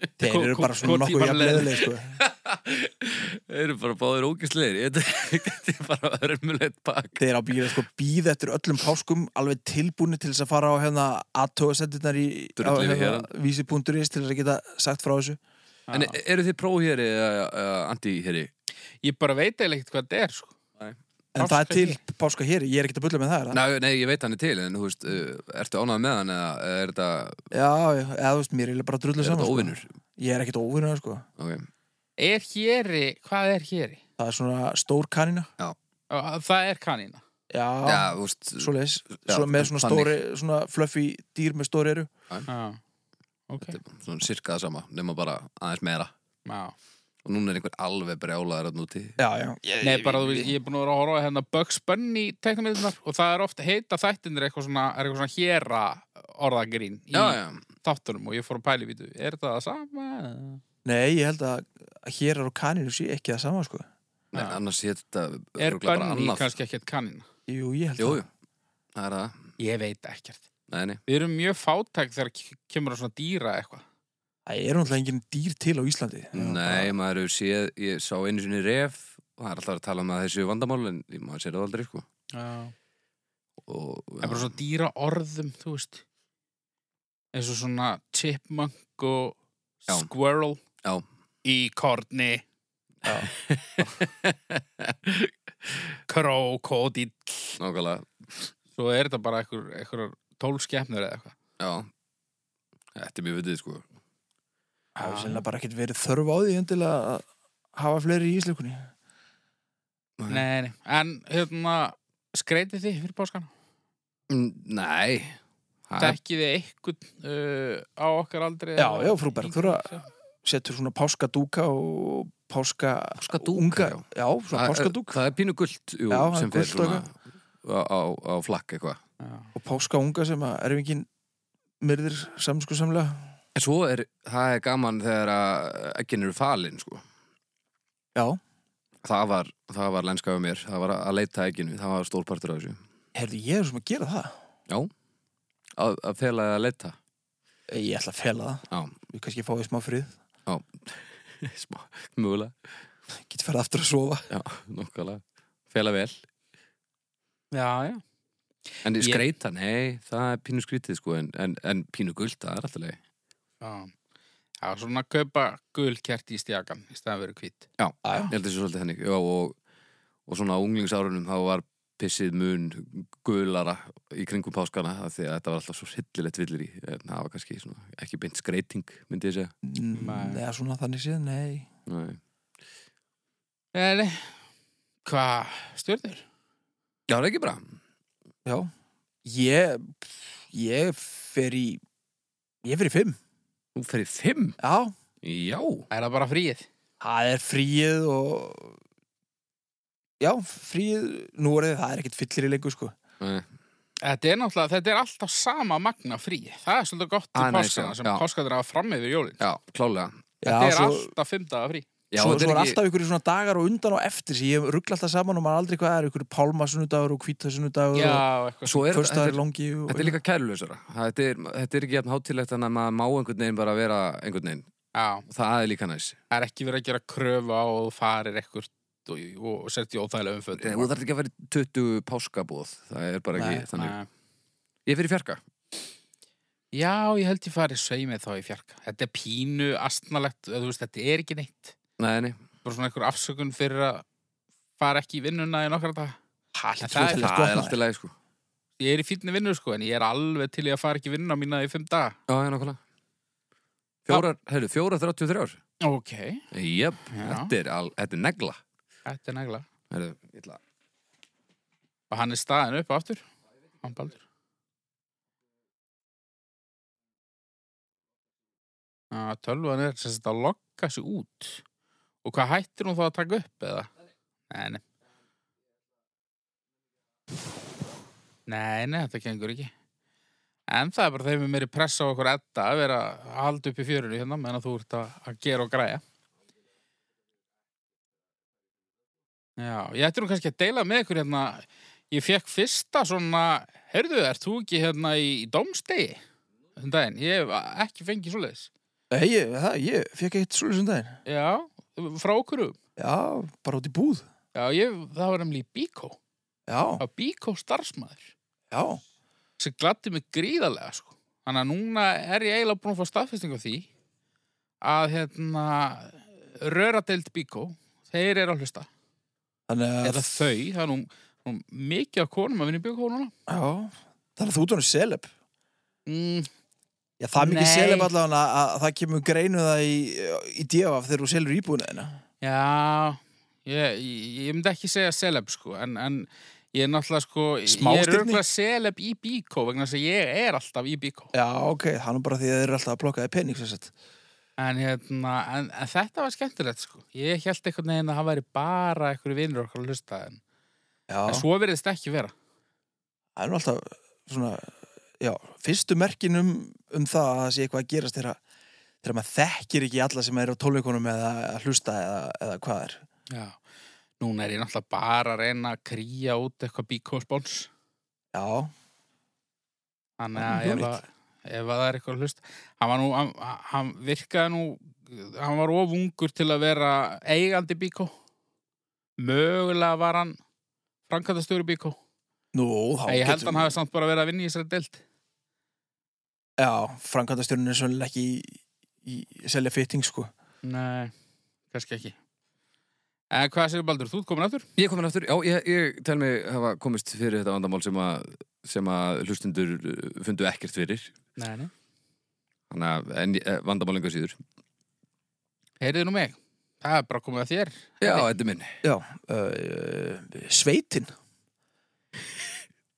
[SPEAKER 2] Þeir
[SPEAKER 3] Hvor-
[SPEAKER 2] eru
[SPEAKER 3] hvor-
[SPEAKER 2] bara svona
[SPEAKER 3] hvor
[SPEAKER 2] nokkuð
[SPEAKER 3] típan
[SPEAKER 2] jafn
[SPEAKER 3] leið-
[SPEAKER 2] leðileg, sko.
[SPEAKER 1] Þeir eru bara báðir ógisleir. Þetta er bara örmulegt pakk.
[SPEAKER 2] Þeir eru að býða, sko, býða eftir öllum páskum, alveg tilbúni til þess að fara á hefna aðtóðasendirnar í á,
[SPEAKER 1] Drullið við
[SPEAKER 2] hérna, vísi.is til þess að geta sagt frá þessu.
[SPEAKER 1] En
[SPEAKER 3] Já.
[SPEAKER 1] eru þið próhýri eða uh, anti-hýri?
[SPEAKER 3] ég bara veit eiginlega ekkert hvað þetta er sko.
[SPEAKER 2] En
[SPEAKER 3] Páska
[SPEAKER 2] það er til páska hér, ég er ekkert að bulla með það, er það?
[SPEAKER 1] Nei, nei, ég veit hann er til, en þú veist, uh, ertu ánægð með hann eða eða er þetta,
[SPEAKER 2] Já, já, eða þú veist, mér er eiginlega bara að drulla
[SPEAKER 1] er
[SPEAKER 2] saman,
[SPEAKER 1] þetta
[SPEAKER 2] sko.
[SPEAKER 1] óvinnur?
[SPEAKER 2] Ég er ekkert óvinnur, sko.
[SPEAKER 1] Okay.
[SPEAKER 3] er héri, hvað er héri?
[SPEAKER 2] Það er svona stór kanina.
[SPEAKER 3] Ó, það er kanína
[SPEAKER 2] Já,
[SPEAKER 1] Já, þú veist,
[SPEAKER 2] svo leis.
[SPEAKER 1] Já,
[SPEAKER 2] Svo með svona
[SPEAKER 1] þannig.
[SPEAKER 2] stóri, svona fluffy dýr með stóri eru.
[SPEAKER 3] já, ok
[SPEAKER 1] þetta er svona sirka það sama, nema bara aðeins meira.
[SPEAKER 3] já.
[SPEAKER 1] Og núna er einhver alveg brjálaður að núti.
[SPEAKER 2] Já, já. Ég,
[SPEAKER 3] Nei, bara þú veist, ég er búin að vera að horfa á hérna Bugs Bunny teknumirnar og það er ofta heita þættinir eitthvað svona, er eitthvað svona héra orðagrín í
[SPEAKER 1] Já, já,
[SPEAKER 3] þáttunum og ég fór að pæli vítu, er þetta það sama?
[SPEAKER 2] Nei, ég held að að hérar og kaninu sé ekki það sama, sko.
[SPEAKER 1] Nei,
[SPEAKER 3] Já.
[SPEAKER 1] annars hétt þetta
[SPEAKER 3] Er
[SPEAKER 1] örugglega bara
[SPEAKER 3] Bunny
[SPEAKER 1] annað.
[SPEAKER 3] kannski ekkert kanína?
[SPEAKER 2] Jú, ég held
[SPEAKER 1] Jú,
[SPEAKER 2] það.
[SPEAKER 1] jú, það er það.
[SPEAKER 3] Ég veit ekkert
[SPEAKER 1] Nei, nei.
[SPEAKER 3] Við erum mjög fátæk þegar ke- kemur að svona dýra eitthvað.
[SPEAKER 2] Það eru náttúrulega engin dýr til á Íslandi.
[SPEAKER 1] Nei, maður hefur séð, ég sá einu sinni ref og það er alltaf að tala um að þessi vandamál en maður sér það aldrei, sko
[SPEAKER 3] Já.
[SPEAKER 1] og,
[SPEAKER 3] Það er bara svona dýra orðum, þú veist. eins og svona chipmunk og
[SPEAKER 1] Já.
[SPEAKER 3] squirrel
[SPEAKER 1] Já.
[SPEAKER 3] í korni krokodil
[SPEAKER 1] Nákvæmlega,
[SPEAKER 3] svo er þetta bara einhver, einhver tólskepnur eða eitthvað
[SPEAKER 1] já Þetta er mjög vitið sko
[SPEAKER 2] Það er sérlega bara ekkert verið þörf á því til að hafa fleiri í íslukunni.
[SPEAKER 3] Nei, nei, en hérna skreitið þið fyrir páskana
[SPEAKER 1] Mm, Nei Það er-
[SPEAKER 3] Dekkið þið einhvern uh, á okkar aldrei
[SPEAKER 2] Já, já, frú Bergþóra setur svona páskadúka og páska...
[SPEAKER 1] Páskadúka,
[SPEAKER 2] unga-
[SPEAKER 1] já.
[SPEAKER 2] Já, svona
[SPEAKER 1] það-
[SPEAKER 2] páskadúk
[SPEAKER 1] Það er pínu gult jú,
[SPEAKER 2] Já, það er
[SPEAKER 1] sem fer
[SPEAKER 2] gult
[SPEAKER 1] svona á, á, á flakk eitthvað
[SPEAKER 3] já.
[SPEAKER 2] og páskaunga sem að erfingin myrðir samskusamlega.
[SPEAKER 1] En svo er, það er gaman þegar að ekkin eru falin sko
[SPEAKER 2] Já.
[SPEAKER 1] Það var, það var lenska á mér, það var að leita ekkinu, það var stórpartur af þessu
[SPEAKER 2] Herðu, ég er sem að gera það.
[SPEAKER 1] Að, að fela eða að leita
[SPEAKER 2] Ég ætla að fela það.
[SPEAKER 1] Já,
[SPEAKER 2] Ég kannski fái smá frið.
[SPEAKER 1] smá, mjögulega
[SPEAKER 2] Get ferð aftur að sofa.
[SPEAKER 1] Já, nokkulega, fela vel
[SPEAKER 3] já, já
[SPEAKER 1] En
[SPEAKER 3] Ég-
[SPEAKER 1] skreita, nei, það er pínu skrítið sko En, en, en pínu gult, það er alltaf leið
[SPEAKER 3] Já, já svona kaupa gulkert í stjakan í staðan verið hvít.
[SPEAKER 2] Já,
[SPEAKER 1] Ég held þessu svolítið henni Já, og, og svona á unglingsárunum þá var pissið mun gulara í kringum páskana af því að þetta var alltaf svo hryllilegt villir í en það var kannski svona, ekki beint skreiting myndi ég segja
[SPEAKER 2] Nei,
[SPEAKER 3] Nei.
[SPEAKER 2] eða svona þannig séð, nei
[SPEAKER 1] Nei.
[SPEAKER 3] Nei, nei. Hvað stjórnir?
[SPEAKER 1] Já, það er ekki bra
[SPEAKER 2] Já, ég ég fer í ég fer í fimm
[SPEAKER 1] Þú ferði fimm
[SPEAKER 2] Já,
[SPEAKER 1] Já,
[SPEAKER 3] Er það bara fríið?
[SPEAKER 2] það er fríið og Já, fríið nú er það er ekkert fyllir í lengur sko
[SPEAKER 1] Nei.
[SPEAKER 3] Þetta er náttúrulega, þetta er alltaf sama magna fríi. Það er svolítið gott til
[SPEAKER 1] Ah, nei,
[SPEAKER 3] páskana
[SPEAKER 1] sjá,
[SPEAKER 3] sem
[SPEAKER 1] já.
[SPEAKER 3] páskatur hafa fram yfir jólinn.
[SPEAKER 1] já klálega
[SPEAKER 2] Já,
[SPEAKER 3] þetta er
[SPEAKER 2] svo,
[SPEAKER 3] alltaf fimm daga frí.
[SPEAKER 1] Já,
[SPEAKER 2] svo,
[SPEAKER 1] þetta
[SPEAKER 2] svo er
[SPEAKER 1] ekki-
[SPEAKER 2] alltaf ykkur svona dagar og undan og eftir sem ég ruggla alltaf saman og maður aldrei hvað er ykkur pálmasunnudagur og hvítasunnudagur
[SPEAKER 3] Já,
[SPEAKER 2] og
[SPEAKER 3] eitthvað.
[SPEAKER 1] Svo er þetta
[SPEAKER 2] föstaður
[SPEAKER 1] er-
[SPEAKER 2] longi og,
[SPEAKER 1] Þetta er líka kærlösara Þetta er, þetta er ekki jafn hátilegt þannig að maður má einhvern veginn bara vera einhvern veginn
[SPEAKER 3] Já,
[SPEAKER 1] Það er líka næs
[SPEAKER 3] það er ekki verið að gera kröfu á og þú farir eitthvað og, og sért í
[SPEAKER 1] Þú
[SPEAKER 3] óþægilega umfötum.
[SPEAKER 1] þarf ekki að vera í 20 páskabóð Það er bara ekki
[SPEAKER 2] Nei.
[SPEAKER 1] þannig Ég fyrir fjarka
[SPEAKER 3] Já, ég held ég farið sveimið þá í fjarka. Þetta er pínu astnalegt, þú veist, þetta er ekki neitt.
[SPEAKER 1] Nei, nei
[SPEAKER 3] bara svona einhver afsökun fyrir að fara ekki í vinnuna í nokkra dag
[SPEAKER 2] Hæ,
[SPEAKER 3] það er-
[SPEAKER 1] Það,
[SPEAKER 2] það
[SPEAKER 1] er alltaf leið sko
[SPEAKER 3] ég er í fínni vinnu sko en ég er alveg til í að fara ekki í vinnuna mína í fimm dag
[SPEAKER 1] Já, já, nákvæmlega Fjórar, heyrðu, fjórar 33
[SPEAKER 3] ok,
[SPEAKER 1] Jöp,
[SPEAKER 3] Já.
[SPEAKER 1] þetta er, al, þetta er negla
[SPEAKER 3] þetta er negla
[SPEAKER 1] Heyrðu, ég ætla
[SPEAKER 3] og hann er staðin upp aftur hann baldur að tölvan er sem sagt að lokka sig út og hvað hættir hún þá að taka upp eða? nei, nei nei, nei, þetta gengur ekki en það er bara þeim við meiri pressa á okkur edda að vera að halda upp í fjörunni hérna meðan að þú ert að, að gera og græja já, ég ætti nú kannski að deila með ykkur hérna ég fekk fyrsta svona heyrðu, ert þú ekki hérna í, í dómstegi? þann daginn, ég hef ekki fengið svoleiðis
[SPEAKER 2] Nei, ég, það, ég fekk eitt svolítið sundaginn
[SPEAKER 3] Já, frá okkur
[SPEAKER 2] um
[SPEAKER 3] um.
[SPEAKER 2] Já, bara út í búð
[SPEAKER 3] Já, ég, það var nemlig Bíkó.
[SPEAKER 2] Já,
[SPEAKER 3] Það var Bíkó starfsmæður
[SPEAKER 2] já,
[SPEAKER 3] sem gladdi mig gríðarlega, sko. Þannig að núna er ég eiginlega búin að fá staðfesting á því að, hérna, röradeild Bíkó, þeir eru að hlusta.
[SPEAKER 2] þannig að
[SPEAKER 3] Eða þau, það er nú, nú mikið af konum að vinna í Bíkó núna.
[SPEAKER 2] Já, þannig að þú ert hann seleb
[SPEAKER 3] Mm,
[SPEAKER 2] Já, það er mikið
[SPEAKER 3] Nei.
[SPEAKER 2] seleb allavega að, að það kemur greinu það í, í djöfaf þegar þú selur íbúinu þeirna
[SPEAKER 3] já, ég, ég, ég myndi ekki segja celeb, sko, en... en Ég er náttúrulega sko, ég er
[SPEAKER 2] Smástirni?
[SPEAKER 3] örgulega seleb í Bíkó vegna þess að ég er alltaf í Bíkó.
[SPEAKER 2] Já, ok, það er nú bara því að þeir eru alltaf að plokka í pening sem sagt.
[SPEAKER 3] En, hérna, en, en þetta var skemmtilegt sko. Ég held einhvern veginn að það væri bara einhverju vinnur okkar að hlusta en,
[SPEAKER 2] Já,
[SPEAKER 3] en svo verðist ekki vera.
[SPEAKER 2] það er nú alltaf svona Já, fyrstu merkin um, um það að það sé eitthvað að gerast þegar þegar maður þekkir ekki alla sem eru á tólveikunum eða að hlusta eða, eða hvað er
[SPEAKER 3] Já. Núna er ég náttúrulega bara að reyna að kríja út eitthvað bíkóspons.
[SPEAKER 2] Já,
[SPEAKER 3] Þannig
[SPEAKER 2] Það
[SPEAKER 3] að
[SPEAKER 2] er
[SPEAKER 3] ef,
[SPEAKER 2] hljómlegt.
[SPEAKER 3] að ef að það er eitthvað að hlusta. Hann, var nú, hann, hann virkaði nú, hann var of ungur til að vera eigandi bíkó. Mögulega var hann framkvæmdastjóri bíkó.
[SPEAKER 2] nú, þá
[SPEAKER 3] En ég held
[SPEAKER 2] getur-
[SPEAKER 3] hann hafi samt bara verið að vinna í þessari deild.
[SPEAKER 2] já, framkvæmdastjórnin er svolítið ekki í, í selja fitting sko
[SPEAKER 3] Nei, kannski ekki En hvað segir Baldur, þú ert komin aftur?
[SPEAKER 1] Ég er komin aftur, já, ég, ég tel mig hafa komist fyrir þetta vandamál sem að, sem að hlustundur fundu ekkert fyrir
[SPEAKER 3] Nei, nei
[SPEAKER 1] Þannig að en, eh, vandamál enga síður
[SPEAKER 3] Heyriði nú mig, það er bara komið að þér
[SPEAKER 1] Já, þetta er minn
[SPEAKER 2] já, uh, sveitin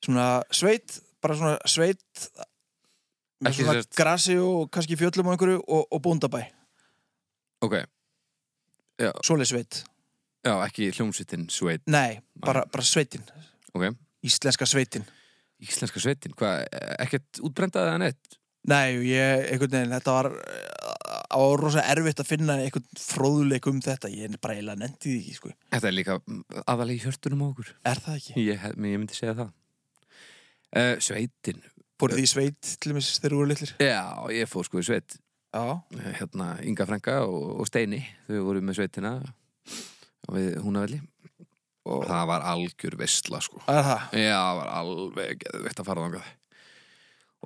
[SPEAKER 2] svona sveit bara svona sveit með
[SPEAKER 1] Ekki
[SPEAKER 2] svona
[SPEAKER 1] sérst.
[SPEAKER 2] grasi og kannski fjöllum og einhverju og, og bóndabæ,
[SPEAKER 1] Ok,
[SPEAKER 2] svoleið sveit
[SPEAKER 1] já, ekki hljómsveitin sveit
[SPEAKER 2] nei, bara, bara sveitin
[SPEAKER 1] Ok,
[SPEAKER 2] íslenska sveitin
[SPEAKER 1] íslenska sveitin, hvað, ekkert útbrendaði eða neitt?
[SPEAKER 2] nei, ég, einhvern veginn, þetta var eh, á rosa erfitt að finna einhvern fróðuleik um þetta, ég er bara eiginlega nefndi því ekki, sko,
[SPEAKER 1] Þetta er líka aðalega í hjörtunum á okkur
[SPEAKER 2] er það ekki?
[SPEAKER 1] Ég, hef- ég myndi segja það uh, Sveitin,
[SPEAKER 2] Fóruð því sveit, til dæmis, þegar þú voru litlir?
[SPEAKER 1] já, ég fór sko í sveit
[SPEAKER 2] Já.
[SPEAKER 1] Eh, hérna, Inga Franka og, og Steini þau voru með sveitina og við húnavelli og það var algjör vesla sko
[SPEAKER 2] Það er það.
[SPEAKER 1] Já, það var alveg geðveikt að fara þangað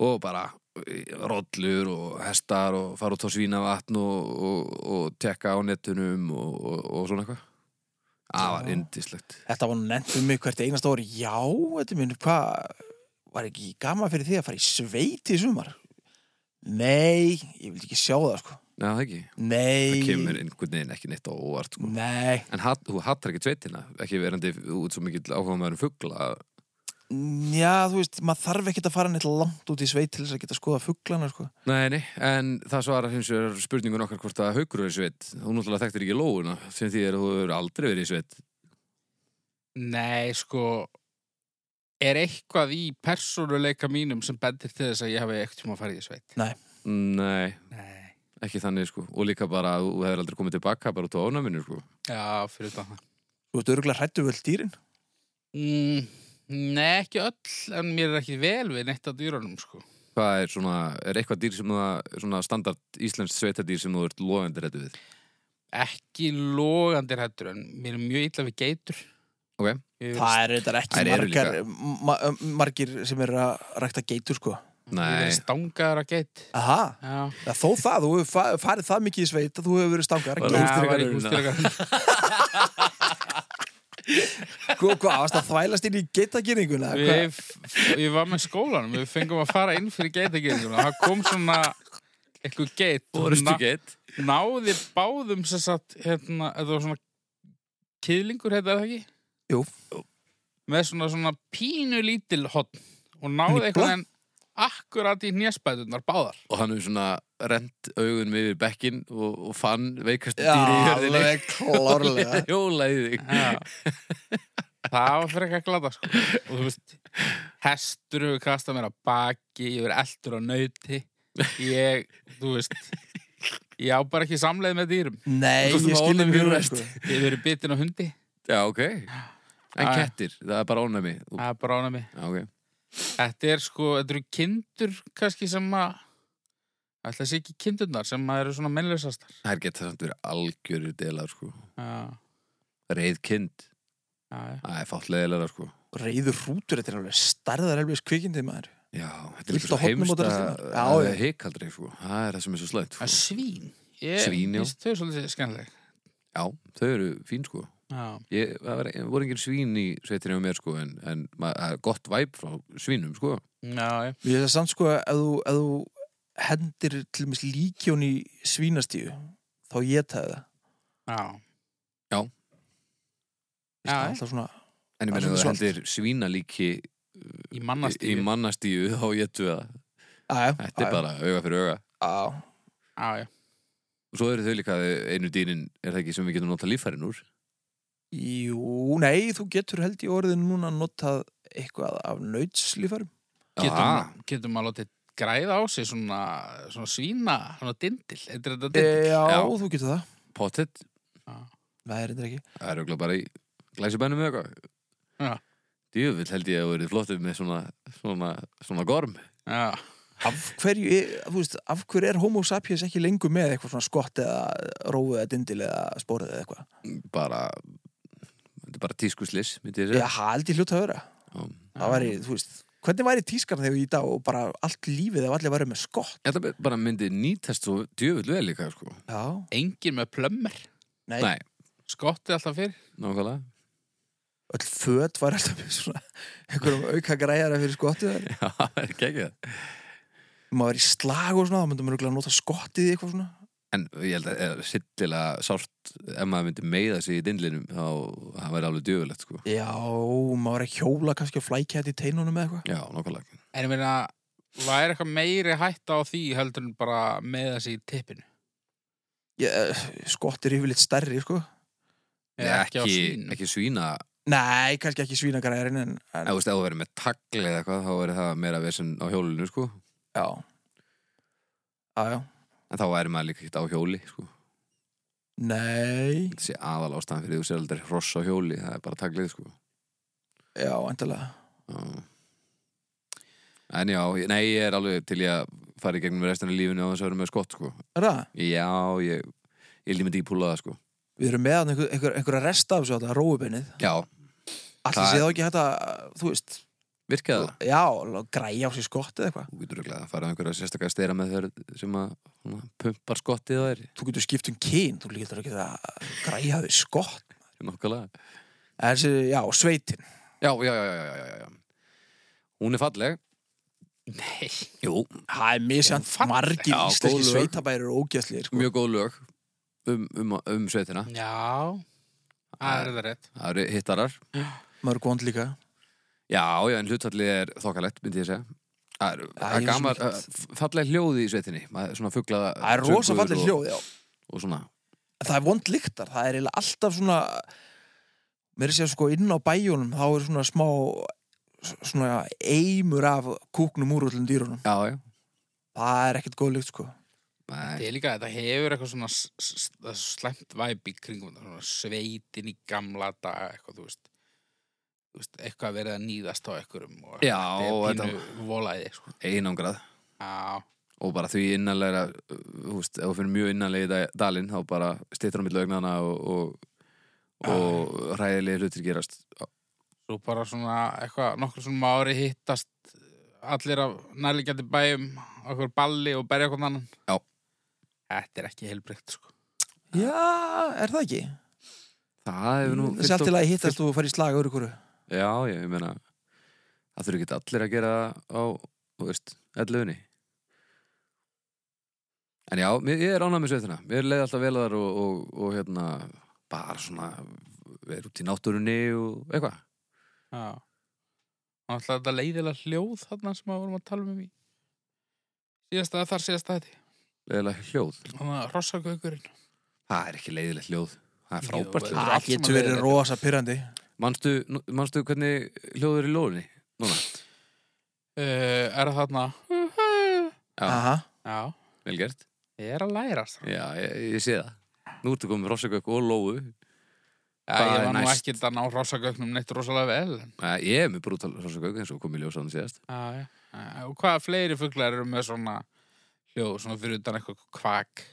[SPEAKER 1] og bara rollur og hestar og fara út á svínavatn og, og, og tekka á netunum og, og, og svona eitthvað Það var
[SPEAKER 2] Já.
[SPEAKER 1] yndislegt
[SPEAKER 2] Þetta var nefnt um mig hvert einasta orði. Já, þetta minn, hvað, var ekki gaman fyrir því að fara í sveit í sumar? Nei, ég vildi ekki sjá það, sko.
[SPEAKER 1] Já, það ekki,
[SPEAKER 2] Nei.
[SPEAKER 1] það kemur einhvern veginn ekki neitt á óvart sko.
[SPEAKER 2] Nei,
[SPEAKER 1] En hat, þú hattar ekki sveitina ekki verandi út svo mikill áhuga með um fugla
[SPEAKER 2] já, þú veist, maður þarf ekkert að fara neitt langt út í sveit til þess að geta skoða fugglana, sko.
[SPEAKER 1] Nei, nei, en það svarar hins vegar spurningun okkar hvort að haukur er í sveit. Þú náttúrulega þekktir ekki lóuna sem því er að þú hefur aldrei verið í sveit.
[SPEAKER 3] Nei, sko Er eitthvað í persónuleika mínum sem bendir til þess að ég hafi ekkert tíma að fara í sveit?
[SPEAKER 1] Nei,
[SPEAKER 3] Nei
[SPEAKER 1] ekki þannig sko. Og líka bara að þú hefur aldrei komið tilbaka bara út á ánæminu sko.
[SPEAKER 3] Já, fyrir utan það
[SPEAKER 2] Þú veist, örgulega hrættu vel dýrin.
[SPEAKER 3] mm, Nei, ekki öll, en mér er ekki vel við neitt að dýrunum, sko
[SPEAKER 1] Hvað er svona, er eitthvað dýr sem það, svona standard íslenskt sveitadýr sem þú ert logandi réttu við?
[SPEAKER 3] Ekki logandi hættur, en mér er mjög illa við geitur
[SPEAKER 1] Ok.
[SPEAKER 3] Ég-
[SPEAKER 2] Það er þetta ekki
[SPEAKER 1] Þær eru
[SPEAKER 2] margar, ma margir sem eru að rækta geitur, sko.
[SPEAKER 3] Ég
[SPEAKER 1] Nei,
[SPEAKER 3] verið stangaður að geit
[SPEAKER 2] Aha,
[SPEAKER 3] Já,
[SPEAKER 2] ja, þó það, þú hefur fa- farið það mikið í sveit að þú hefur verið stangar.
[SPEAKER 1] Bara
[SPEAKER 3] það var
[SPEAKER 1] útstrikarinn,
[SPEAKER 3] ekki útstyrkar
[SPEAKER 2] Hvað, Sko, hvað, varst að þvælast inn í geitagýringuna?
[SPEAKER 3] Við, ég var með skólanum, við fengum að fara inn fyrir geitagerðinguna Það kom svona eitthvað geit og
[SPEAKER 1] orustu geitt.
[SPEAKER 3] náði báðum sem sagt, hérna, þetta var svona kýðlingur, heita það ekki?
[SPEAKER 2] Jú.
[SPEAKER 3] Með svona, svona pínu lítil hotn og náði
[SPEAKER 2] Hnýfla?
[SPEAKER 3] eitthvað en akkurat í hnjaspætunar báðar.
[SPEAKER 1] Og hann hefur svona rent augunum yfir bekkin og, og fann veikastu
[SPEAKER 2] Já,
[SPEAKER 1] dýri í hörðinni.
[SPEAKER 2] alveg klárlega
[SPEAKER 1] Hjólaði þig.
[SPEAKER 3] Já. það var fyrir eitthvað glada, sko. Og þú veist, hestur hefur kastað mér á baki, ég verið eldur á nauti, ég, þú veist, ég á bara ekki samleið með dýrum.
[SPEAKER 1] Þú
[SPEAKER 2] Nei, ég
[SPEAKER 1] ert með
[SPEAKER 2] skilði
[SPEAKER 1] ónæmi
[SPEAKER 2] mjög
[SPEAKER 1] fyrir
[SPEAKER 2] vel
[SPEAKER 1] rest.
[SPEAKER 2] sko.
[SPEAKER 3] Ég verið bitin á hundi,
[SPEAKER 1] Já, ok. En
[SPEAKER 3] Já.
[SPEAKER 1] kettir, það er bara ónæmi. Þú-
[SPEAKER 3] það er bara ánæmi.
[SPEAKER 1] Já, ok.
[SPEAKER 3] Þetta er sko, þetta eru kindur kannski sem að ætla þessi ekki kindurnar sem að eru svona mennlösastar
[SPEAKER 1] Það er gett samt verið algjörir delar sko.
[SPEAKER 3] Já,
[SPEAKER 1] Reið kind,
[SPEAKER 3] já, já.
[SPEAKER 1] það er fátt leðilega sko.
[SPEAKER 2] Reyður rútur, þetta er alveg starðar elvis kvikindið maður
[SPEAKER 1] Já, þetta er
[SPEAKER 2] Fullt
[SPEAKER 1] líka svo
[SPEAKER 2] af hornum og
[SPEAKER 1] heimst
[SPEAKER 2] drasli. Já,
[SPEAKER 1] að
[SPEAKER 2] já.
[SPEAKER 1] heikaldri sko. Það er það sem er svo slæmt
[SPEAKER 3] En
[SPEAKER 1] sko.
[SPEAKER 3] svín ég,
[SPEAKER 1] Svín, já.
[SPEAKER 3] já Þau er svolítið skemmtileg
[SPEAKER 1] Já, þau eru fín sko.
[SPEAKER 3] Já,
[SPEAKER 1] Ég, það var, voru engin svín í sveitinni á mér sko, en, en ma- það er gott væp frá svínum sko.
[SPEAKER 3] já, já.
[SPEAKER 2] Ég er samt sko að þú, að þú hendir til mis líkjón í svínastíu þá ég taði það
[SPEAKER 3] já.
[SPEAKER 2] Veistu,
[SPEAKER 3] Já,
[SPEAKER 2] það er alltaf svona,
[SPEAKER 1] En ég
[SPEAKER 2] Það er
[SPEAKER 1] meina þú
[SPEAKER 2] svolítið
[SPEAKER 1] heldur svínalíki í,
[SPEAKER 3] Í mannastíð
[SPEAKER 1] í mannastíu þá getur það.
[SPEAKER 2] aðja,
[SPEAKER 1] Þetta er bara auga fyrir auga.
[SPEAKER 2] bara
[SPEAKER 3] Já, já,
[SPEAKER 1] Og svo eru þau líka einu dýrin, er það ekki sem við getum notað líffærin úr?
[SPEAKER 2] Jú, nei, þú getur held í orðin núna notað eitthvað af nautslífarum
[SPEAKER 1] Ah.
[SPEAKER 3] getum, getum að láti græða á sig svona, svona svína, svona dindil Þetta er þetta
[SPEAKER 2] Já,
[SPEAKER 3] dindil
[SPEAKER 2] þú getur það
[SPEAKER 1] Pottet,
[SPEAKER 2] Nei, er þetta ekki
[SPEAKER 1] það er auðvitað bara í glæsibænum eða eitthvað.
[SPEAKER 3] Já.
[SPEAKER 1] Djöfull held ég að verið flottum með svona, svona, svona gorm.
[SPEAKER 3] Já,
[SPEAKER 2] af hverju, er- þú veist, af hverju er homo sapiens ekki lengur með eitthvað svona skott eða rófu eða dindil eða spórið eða eitthvað
[SPEAKER 1] bara þetta er bara tískuslis myndi ég
[SPEAKER 2] Já,
[SPEAKER 1] segja Um,
[SPEAKER 2] haldi hlut að vera
[SPEAKER 1] Já.
[SPEAKER 2] það væri, þú veist, hvernig væri tískan þegar í dag og bara allt lífið ef allir væri með skott
[SPEAKER 1] Þetta bara myndi nýtast svo djöfull vel líka, sko.
[SPEAKER 2] já,
[SPEAKER 3] Engin með plömmur.
[SPEAKER 2] nei,
[SPEAKER 1] Nei,
[SPEAKER 3] Skottið alltaf fyrir.
[SPEAKER 1] nákvæmlega.
[SPEAKER 2] öll föt var alltaf með svona einhverjum auka græjara fyrir skottið þar.
[SPEAKER 1] Já, það er ekki ekki það.
[SPEAKER 2] maður var í slag og svona, þá myndum við að nota skottið í eitthvað svona
[SPEAKER 1] En ég held að er sillilega sárt ef maður myndi meiða sig í dindlinum þá það væri alveg djöfulegt, sko.
[SPEAKER 2] já, maður var að hjóla kannski að flækja þetta í teinunum eða eitthvað
[SPEAKER 1] Já, nákvæmlega.
[SPEAKER 3] En ég meina, væri eitthvað meiri hætta á því heldur en bara með þessi í tippinu?
[SPEAKER 2] Ég, eh, skott er yfirleitt stærri, sko
[SPEAKER 3] Eða
[SPEAKER 1] ekki,
[SPEAKER 3] á
[SPEAKER 1] ekki,
[SPEAKER 3] svínum?
[SPEAKER 1] svína.
[SPEAKER 2] nei, kannski ekki svínagræjarin en,
[SPEAKER 1] Ef
[SPEAKER 2] en
[SPEAKER 1] þú veist, ef þú verið með tagli eða eitthvað, þá verið það meira vesen á hjólinu, sko.
[SPEAKER 2] já já, já,
[SPEAKER 1] En þá væri maður líka ekkert á hjóli, sko.
[SPEAKER 2] nei
[SPEAKER 1] Þessi aðal ástæðan fyrir því þú sér aldrei hross á hjóli, það er bara taglið, sko.
[SPEAKER 2] já, endalega
[SPEAKER 1] Já. En já, ég- nei, ég er alveg til ég að fara í gegnum restina af lífinu á þess að vera með skott, sko.
[SPEAKER 2] er það?
[SPEAKER 1] Já, ég, ég límið ekki púla það, sko.
[SPEAKER 2] Við erum með þarna einhver, einhver, einhverja rest af þessu alltaf róubennið.
[SPEAKER 1] Já,
[SPEAKER 2] Alltaf
[SPEAKER 1] Það
[SPEAKER 2] sé
[SPEAKER 1] er-
[SPEAKER 2] þá ekki hægt að, þú veist,
[SPEAKER 1] virkað það.
[SPEAKER 2] já, lá- græja á sér skott eða eitthvað.
[SPEAKER 1] Þú getur ekki að fara á einhverja sérstaklega steyra með þeir sem að svona, pumpar skottið á þér.
[SPEAKER 2] Þú getur skipt um kyn, þú getur ekki að græja þér skott.
[SPEAKER 1] Nákvæmlega.
[SPEAKER 2] En Þessi, já, sveitin.
[SPEAKER 1] Já, já, já, já, já, já, já. Hún er falleg.
[SPEAKER 3] Nei.
[SPEAKER 1] Jú,
[SPEAKER 2] Það er misjant
[SPEAKER 3] Já,
[SPEAKER 2] margir
[SPEAKER 1] já, góð
[SPEAKER 2] íslenski
[SPEAKER 1] lög.
[SPEAKER 2] sveitabærir og ógæslir. Sko.
[SPEAKER 1] mjög góð lög um, um, um sveitina.
[SPEAKER 3] Já, það er það rétt.
[SPEAKER 1] Það eru hittarar.
[SPEAKER 2] Mörg vond líka.
[SPEAKER 1] Já, já, en hlutfallið er þokkalett, myndi ég segja. Það er- það
[SPEAKER 2] ég
[SPEAKER 1] er
[SPEAKER 2] er svo
[SPEAKER 1] gamar,
[SPEAKER 2] mikið.
[SPEAKER 1] falleg hljóði í sveitinni. Maður- Svona fugglaða.
[SPEAKER 2] Það er rosa fallir hljóð, já.
[SPEAKER 1] og svona
[SPEAKER 2] En Það er vond lyktar, það er eiginlega alltaf svona, mér sé sko inn á bæjunum, þá er svona smá, svona eimur af kúknum úr öllum dýrunum.
[SPEAKER 1] já, já.
[SPEAKER 2] Það er ekkert góð lykt, sko.
[SPEAKER 1] Nei,
[SPEAKER 3] Þetta er líka, þetta hefur eitthvað svona s- s- s- slæmt væp í kringum þetta, svona sveitin í gamla daga, eitthvað, þú veist, þú veist eitthvað verið að nýðast á einhverjum og
[SPEAKER 1] Já,
[SPEAKER 3] þetta
[SPEAKER 1] þetta-
[SPEAKER 3] er pínu volaði, sko.
[SPEAKER 1] einangrað
[SPEAKER 3] Já,
[SPEAKER 1] og bara því innanlega þú veist, ef þú finnir mjög innanlega í dalinn þá bara stýttur á milli augnana og, og, og ræðilegi hlutir gerast
[SPEAKER 3] svo bara svona eitthvað, nokkur svona ári hittast allir af nærliggjandi bæjum á okkur balli og berja okkur annan.
[SPEAKER 1] Já.
[SPEAKER 3] Þetta er ekki heilbreykt, sko.
[SPEAKER 2] Já, er það ekki?
[SPEAKER 1] það hefur nú
[SPEAKER 2] Það sé Mm, allt til að hittast og fara í slag öðru hverju.
[SPEAKER 1] já, ég, ég meina það þurfi ekki allir að gera það á þú veist, elluðinni en já, mér- ég er ánægð með sveitina mér leiði alltaf vel að þar og, og, og hérna, bara svona verið út í náttúrunni og eitthvað
[SPEAKER 3] Já. Og alltaf þetta leiðilega hljóð þarna sem að vorum að tala um í síðasta, þar síðasta þetta.
[SPEAKER 1] leiðilega hljóð
[SPEAKER 3] Þannig að rossagaukurinn.
[SPEAKER 1] Það er ekki leiðilegt hljóð Það er frábært
[SPEAKER 3] Jú,
[SPEAKER 1] hljóð
[SPEAKER 3] er allt sem að leiðilegt.
[SPEAKER 2] rosa pyrrandi.
[SPEAKER 1] manstu, manstu hvernig hljóð er í lóðinni? Núna,
[SPEAKER 3] Uh, er það þarna?
[SPEAKER 1] Já.
[SPEAKER 2] Aha.
[SPEAKER 3] Já,
[SPEAKER 1] vel gert
[SPEAKER 3] ég er að læra það.
[SPEAKER 1] Já, ég, ég sé það Nú ertu komið rossagauk og lóu
[SPEAKER 3] Já,
[SPEAKER 1] Hvað
[SPEAKER 3] ég
[SPEAKER 1] er
[SPEAKER 3] var nú
[SPEAKER 1] næst?
[SPEAKER 3] ekki að ná rossagauknum neitt rosalega vel. en-
[SPEAKER 1] Æ, Ég er með brútal rossagauk eins og komið ljós á hann síðast
[SPEAKER 3] Já, já. Já, Og hvaða fleiri fuglar eru með svona hljóð, svona fyrir utan eitthvað kvak?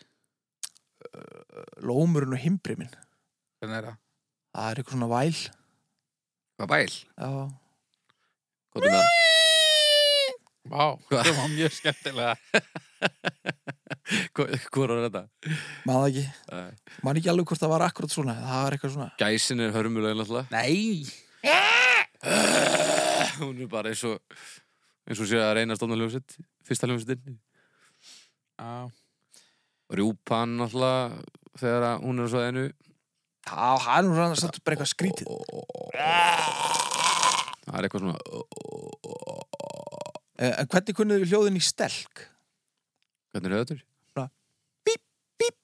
[SPEAKER 2] Lómurinn og himbri minn.
[SPEAKER 3] Hvernig er það?
[SPEAKER 2] Það er eitthvað svona væl.
[SPEAKER 1] Hvað bæl?
[SPEAKER 2] Já.
[SPEAKER 1] Hvað er það?
[SPEAKER 3] Vá,
[SPEAKER 1] Hvað?
[SPEAKER 3] það var mjög skemmtilega.
[SPEAKER 1] Hvað hvor var þetta?
[SPEAKER 2] Maður ekki.
[SPEAKER 1] Æ,
[SPEAKER 2] Man ekki alveg hvort það var akkurat svona. Það var eitthvað svona.
[SPEAKER 1] Gæsin er hörmulegin alltaf
[SPEAKER 3] Nei!
[SPEAKER 1] Hún er bara eins og eins og sé að reyna að stofna hljóðsitt Fyrsta hljóðsittin
[SPEAKER 3] Já,
[SPEAKER 1] Rjúpan alltaf þegar að hún er svo einu
[SPEAKER 2] Já, það er nú svona satt bara eitthvað skrítið.
[SPEAKER 1] Það er eitthvað svona
[SPEAKER 2] Eh, En hvernig kunnið við hljóðin í stelk?
[SPEAKER 1] Hvernig er höfður?
[SPEAKER 2] Svona,
[SPEAKER 1] Bíp,
[SPEAKER 2] bíp,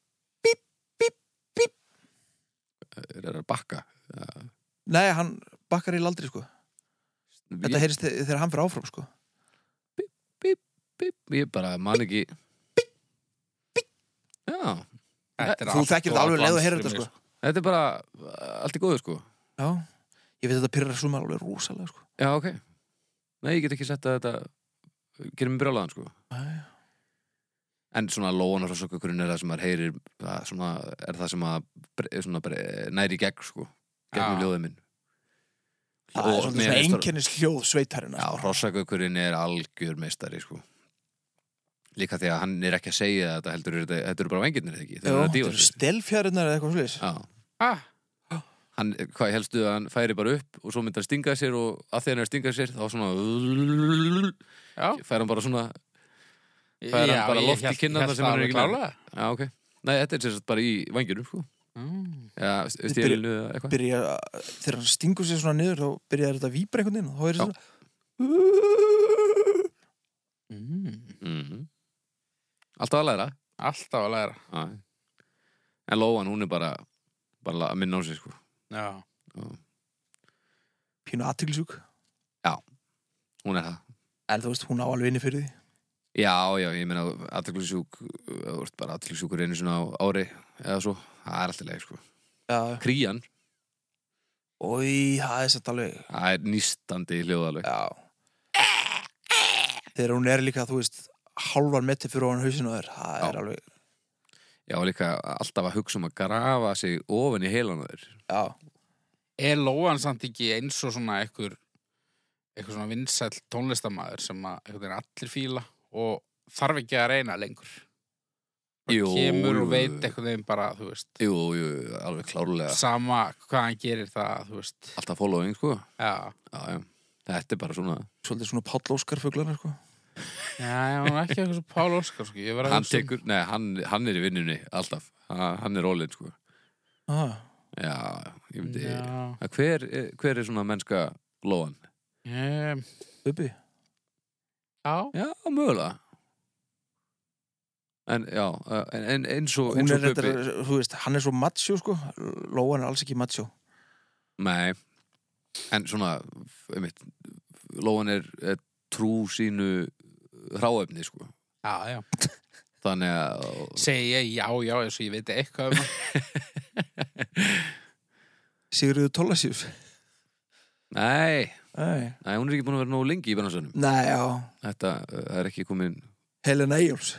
[SPEAKER 2] bíp, bíp, bíp.
[SPEAKER 1] Er það að bakka?
[SPEAKER 2] Nei, hann bakkar í aldrei sko. Þetta heyrist þe- þegar hann fyrir áfram sko.
[SPEAKER 1] Bíp, ég bara man ekki Já,
[SPEAKER 3] þetta er
[SPEAKER 2] Þú
[SPEAKER 3] allt
[SPEAKER 2] þekkir
[SPEAKER 3] of
[SPEAKER 2] þetta alveg leið að heyra
[SPEAKER 3] glans
[SPEAKER 2] þetta
[SPEAKER 3] fyrir
[SPEAKER 2] sko.
[SPEAKER 3] mig,
[SPEAKER 1] þetta er bara uh, allt í góðu sko
[SPEAKER 2] Já. Ég veit að þetta pyrrar suma alveg rosalega sko.
[SPEAKER 1] Já, ok Nei, ég get ekki sett að þetta gerir mig brjólaðan sko
[SPEAKER 2] Nei.
[SPEAKER 1] En svona lóan og rossokökurinn er það sem maður heyrir það, svona, er það sem maður bre- svona, bre- næri í gegn sko gegnum
[SPEAKER 3] Já.
[SPEAKER 1] ljóðið minn
[SPEAKER 2] það er
[SPEAKER 1] Og
[SPEAKER 2] svolítið
[SPEAKER 1] mér
[SPEAKER 2] svona sko.
[SPEAKER 1] finnst það-
[SPEAKER 2] einkennis hljóð sveitarina
[SPEAKER 1] Já, hrossagökurinn er algjör meistari, sko. Líka því að hann er ekki að segja þetta, heldur er þetta, þetta eru bara vengirnir, eða ekki? Þeir eru að dýfa sér.
[SPEAKER 2] stelfjærinar eða eitthvað svolítið
[SPEAKER 1] Já.
[SPEAKER 3] ah,
[SPEAKER 1] Hann, hvað helstu að hann færi bara upp og svo myndi hann stinga sér og að því hann er að stinga sér þá svona
[SPEAKER 3] já,
[SPEAKER 1] fær hann bara svona
[SPEAKER 3] já,
[SPEAKER 1] Það er hann bara
[SPEAKER 3] ég
[SPEAKER 1] loft í
[SPEAKER 3] hélt- ég
[SPEAKER 1] kinnarnar
[SPEAKER 3] hélt
[SPEAKER 1] sem hann er
[SPEAKER 3] alveg
[SPEAKER 1] ekki nær.
[SPEAKER 3] klálega.
[SPEAKER 1] Já, ok. Nei, þetta er sérst bara í vanginum, sko.
[SPEAKER 3] Mm.
[SPEAKER 1] Já, stjælinu eða eitthvað.
[SPEAKER 2] byrja, þegar hann stingur sér svona niður þá byrjar þetta að víbra einhvern veginn og þá er
[SPEAKER 1] Já.
[SPEAKER 2] þetta svona
[SPEAKER 3] Mm.
[SPEAKER 1] Mhm. Alltaf að læra.
[SPEAKER 3] Alltaf að læra
[SPEAKER 1] Já. En Lóan, hún er bara, bara la- að minna á sig, sko.
[SPEAKER 3] Já,
[SPEAKER 2] pínu aðtýrlisjúk
[SPEAKER 1] Hún er það.
[SPEAKER 2] en þú veist, hún á alveg inni fyrir því
[SPEAKER 1] Já, já, ég meina aðteklisjúk, þú ert bara aðteklisjúkur einu svona á ári eða svo, það er alltaf leið, sko.
[SPEAKER 2] já,
[SPEAKER 1] Krían,
[SPEAKER 2] oi, það er satt alveg
[SPEAKER 1] það er nýstandi hljóðalveg.
[SPEAKER 2] já þegar hún er líka, þú veist hálfan metri fyrir ofan hausinu þér það er
[SPEAKER 1] Já.
[SPEAKER 2] alveg,
[SPEAKER 1] Já, og líka alltaf að hugsa um að grafa sig ofan í heilan á þér.
[SPEAKER 2] já,
[SPEAKER 3] er Lóan samt ekki eins og svona einhver, einhver svona vinsæll tónlistamæður sem að einhvern veginn allir fíla og þarf ekki að reyna lengur Bara
[SPEAKER 1] Jú,
[SPEAKER 3] kemur
[SPEAKER 1] jú,
[SPEAKER 3] og veit
[SPEAKER 1] jú.
[SPEAKER 3] einhvern veginn bara, þú veist
[SPEAKER 1] Jú, jú, alveg klárlega.
[SPEAKER 3] sama hvað hann gerir það, þú veist
[SPEAKER 1] Alltaf following, sko.
[SPEAKER 3] Já,
[SPEAKER 1] Já, já. Þetta er bara svona,
[SPEAKER 2] svolítið svona Páll Óskar fuglarna, sko
[SPEAKER 3] já, já hún er ekki eitthvað svo Pál Óskar, sko Ég var að
[SPEAKER 1] hann
[SPEAKER 3] hugsa um-
[SPEAKER 1] tekur, nei, hann, hann er í vinnunni, alltaf. Ha- Hann er rólinn, sko.
[SPEAKER 2] ah,
[SPEAKER 1] Já, ég myndi,
[SPEAKER 3] Já,
[SPEAKER 1] Að hver, er- hver er svona mennska lóan?
[SPEAKER 3] Em,
[SPEAKER 2] Bubi,
[SPEAKER 3] já
[SPEAKER 1] Já, mögulega. En, já, en, en eins og,
[SPEAKER 2] hún
[SPEAKER 1] eins
[SPEAKER 2] er
[SPEAKER 1] og
[SPEAKER 2] þetta, þú veist, hann er svo macho, sko Lóan er alls ekki macho
[SPEAKER 1] Nei, en svona, einmitt, Lóan er, er trú sínu hráefni, sko.
[SPEAKER 3] Já, já.
[SPEAKER 1] Þannig að,
[SPEAKER 3] Segja ég já, já, eins og ég veit eitthvað um hann.
[SPEAKER 2] Sigurður Tólasjús
[SPEAKER 1] nei,
[SPEAKER 2] nei,
[SPEAKER 1] nei, hún er ekki búin að vera nógu lengi í bransanum.
[SPEAKER 2] nei, já,
[SPEAKER 1] Þetta uh, það er ekki komin
[SPEAKER 2] Helena Eyjóls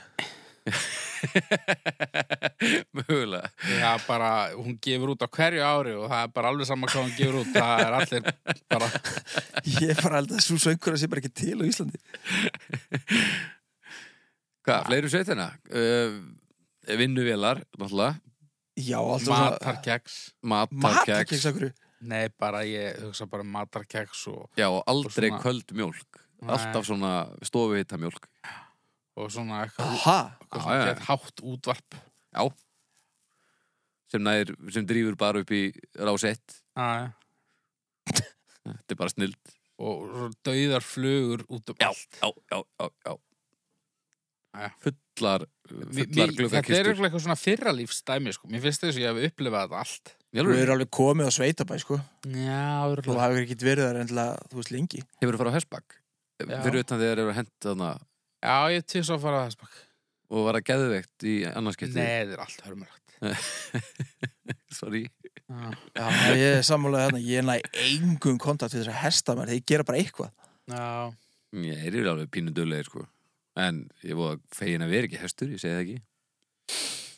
[SPEAKER 1] mögulega.
[SPEAKER 3] Já, bara, hún gefur út á hverju ári og það er bara alveg sama hvað hún gefur út. Það er allir bara,
[SPEAKER 2] Ég er bara held að svo söngur að sé bara ekki til á Íslandi
[SPEAKER 1] Hvað,
[SPEAKER 2] Ah.
[SPEAKER 1] fleiri sveitina? Uh, vinnuvélar, náttúrulega,
[SPEAKER 2] Já, alltaf
[SPEAKER 3] matarkeks.
[SPEAKER 1] matarkeks,
[SPEAKER 2] Matarkeks, akkur
[SPEAKER 3] Nei, bara ég hugsa bara um matarkeks og,
[SPEAKER 1] já, og aldrei
[SPEAKER 3] Og svona-
[SPEAKER 1] köld mjólk.
[SPEAKER 3] Nei.
[SPEAKER 1] Alltaf svona stofuhita mjólk.
[SPEAKER 3] og svona eitthvað,
[SPEAKER 2] Aha,
[SPEAKER 3] eitthvað
[SPEAKER 1] Ah, Já,
[SPEAKER 3] svona
[SPEAKER 1] já.
[SPEAKER 3] gett hátt útvarp.
[SPEAKER 1] Já. Sem, nær, sem drífur bara upp í rásett.
[SPEAKER 3] Já, já.
[SPEAKER 1] Þetta er bara snill.
[SPEAKER 3] Og svo dauðar flugur út um
[SPEAKER 1] já,
[SPEAKER 3] allt.
[SPEAKER 1] já, já, já, já.
[SPEAKER 3] Jæja.
[SPEAKER 1] Fullar,
[SPEAKER 3] Mér-
[SPEAKER 1] fullar
[SPEAKER 3] mér- Þetta er
[SPEAKER 1] gluggakistur
[SPEAKER 3] eitthvað eitthvað svona fyrralífsdæmi, sko. Mér finnst þess að ég hef upplifað þetta allt.
[SPEAKER 1] Í
[SPEAKER 2] þú
[SPEAKER 1] alvöru?
[SPEAKER 2] eru alveg komið á sveitabæ, sko
[SPEAKER 3] Já,
[SPEAKER 2] Þú
[SPEAKER 3] örugglega.
[SPEAKER 2] hafði ekki verið þar endilega, þú veist, lengi
[SPEAKER 1] Hefur þú farið á hestbakk?
[SPEAKER 3] Já.
[SPEAKER 1] Fyrir utan þegar eru hent þarna
[SPEAKER 3] já, ég til svo að fara að þess bak.
[SPEAKER 1] og var að geðveikt í
[SPEAKER 3] Nei,
[SPEAKER 1] annarskipti
[SPEAKER 3] þetta er allt hörmulegt.
[SPEAKER 1] Sorry
[SPEAKER 3] Já,
[SPEAKER 2] Já, ég er sammálaðið þarna, ég næ engum kontakt við þess að hesta mér, þeir gera bara eitthvað
[SPEAKER 3] já.
[SPEAKER 1] Ég er yfir alveg pínu dölegir sko En ég voru fegin að vera ekki hestur, ég segi það ekki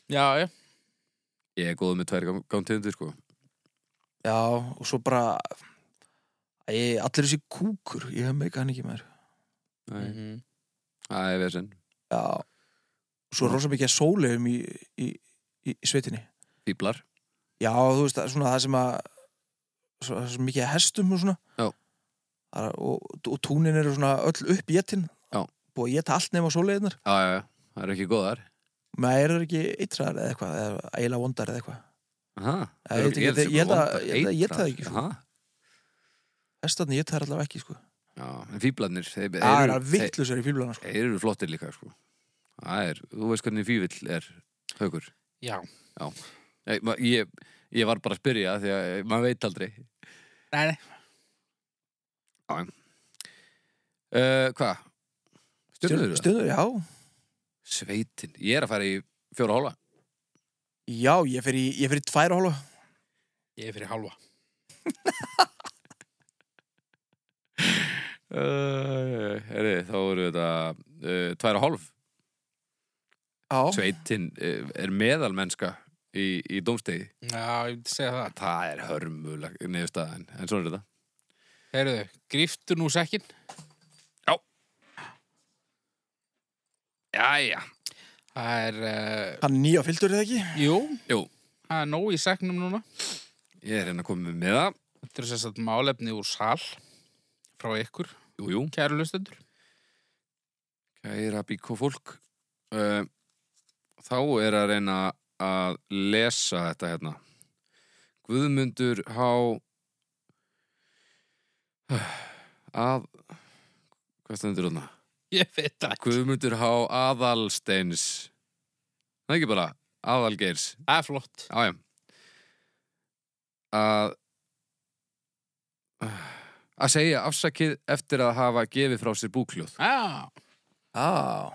[SPEAKER 3] Já, já,
[SPEAKER 1] Ég er góð með tvær gántiðundir sko
[SPEAKER 2] Já, og svo bara Æ, allir þessi kúkur, ég hef meika hann ekki maður
[SPEAKER 1] Nei,
[SPEAKER 3] -hmm.
[SPEAKER 1] Það er vesinn
[SPEAKER 2] Já, og
[SPEAKER 1] Mm.
[SPEAKER 2] svo rosa mikið að sólegum í, í, í, í sveitinni
[SPEAKER 1] Fíblar
[SPEAKER 2] Já, þú veist, það er svona það sem að svo, það er svo mikið að hestum og svona
[SPEAKER 1] Já.
[SPEAKER 2] Það er- og, og túnin eru svona öll upp í etin
[SPEAKER 1] Já.
[SPEAKER 2] búið að geta allt nema svoleiðnar
[SPEAKER 1] Já, já, já, það eru ekki góðar
[SPEAKER 2] maður er það ekki eitraðar eða eitthvað eða eiginlega vondar eða eitthvað
[SPEAKER 1] Aha,
[SPEAKER 2] Já, ég veit ekki, ég held að- ég held að ég það ekki, sko.
[SPEAKER 1] Aha.
[SPEAKER 2] hestarnir geta það allavega ekki sko
[SPEAKER 1] Já, en fíblarnir þeir
[SPEAKER 2] það er
[SPEAKER 1] eru-
[SPEAKER 2] að
[SPEAKER 1] þeir-
[SPEAKER 2] vittlusar í fíblana sko
[SPEAKER 1] Þeir eru flottir líka, sko. Það er, þú veist hvernig fývill er haugur.
[SPEAKER 3] já.
[SPEAKER 1] Nei, ma- ég, ég var bara að spyrja því að eh, maður veit aldrei.
[SPEAKER 3] Nei, nei.
[SPEAKER 1] Uh, Hvað? Stjörnur? Stjörn.
[SPEAKER 2] stjörnur, já
[SPEAKER 1] Sveitin. Ég er að fara í fjóra og hálfa.
[SPEAKER 2] já, ég fer í, ég fer í tvær og hálfa
[SPEAKER 3] Ég er fyrir halva.
[SPEAKER 1] Uh, Heri, þá eru þetta uh, tvær og hálf.
[SPEAKER 2] já,
[SPEAKER 1] Sveitin uh, er meðalmennska í, í dómstegi.
[SPEAKER 3] Já, ég myndi segja það.
[SPEAKER 1] Það er hörmuleg niðurstaðan, en svona er þetta.
[SPEAKER 3] Herðu, gríftu nú sekkin. Já. Jæja. Það er, uh,
[SPEAKER 2] Hann nýja fylgdur eða ekki?
[SPEAKER 3] jú,
[SPEAKER 1] Jú,
[SPEAKER 3] það er nóg í sekknum núna.
[SPEAKER 1] ég er hérna komið með það.
[SPEAKER 3] Þetta er sérst að málefni úr sal frá ykkur,
[SPEAKER 1] Jú, jú,
[SPEAKER 3] kæru lustendur.
[SPEAKER 1] kæra bíkó fólk. Uh, þá er að reyna að lesa þetta hérna. Guðmundur há að hvað stendur þarna?
[SPEAKER 3] Ég veit það.
[SPEAKER 1] Guðmundur há aðalsteins það er ekki bara aðalgeirs
[SPEAKER 3] Það er flott.
[SPEAKER 1] Jájá að að segja afsakið eftir að hafa gefið frá sér búkljóð
[SPEAKER 3] Já,
[SPEAKER 2] Já.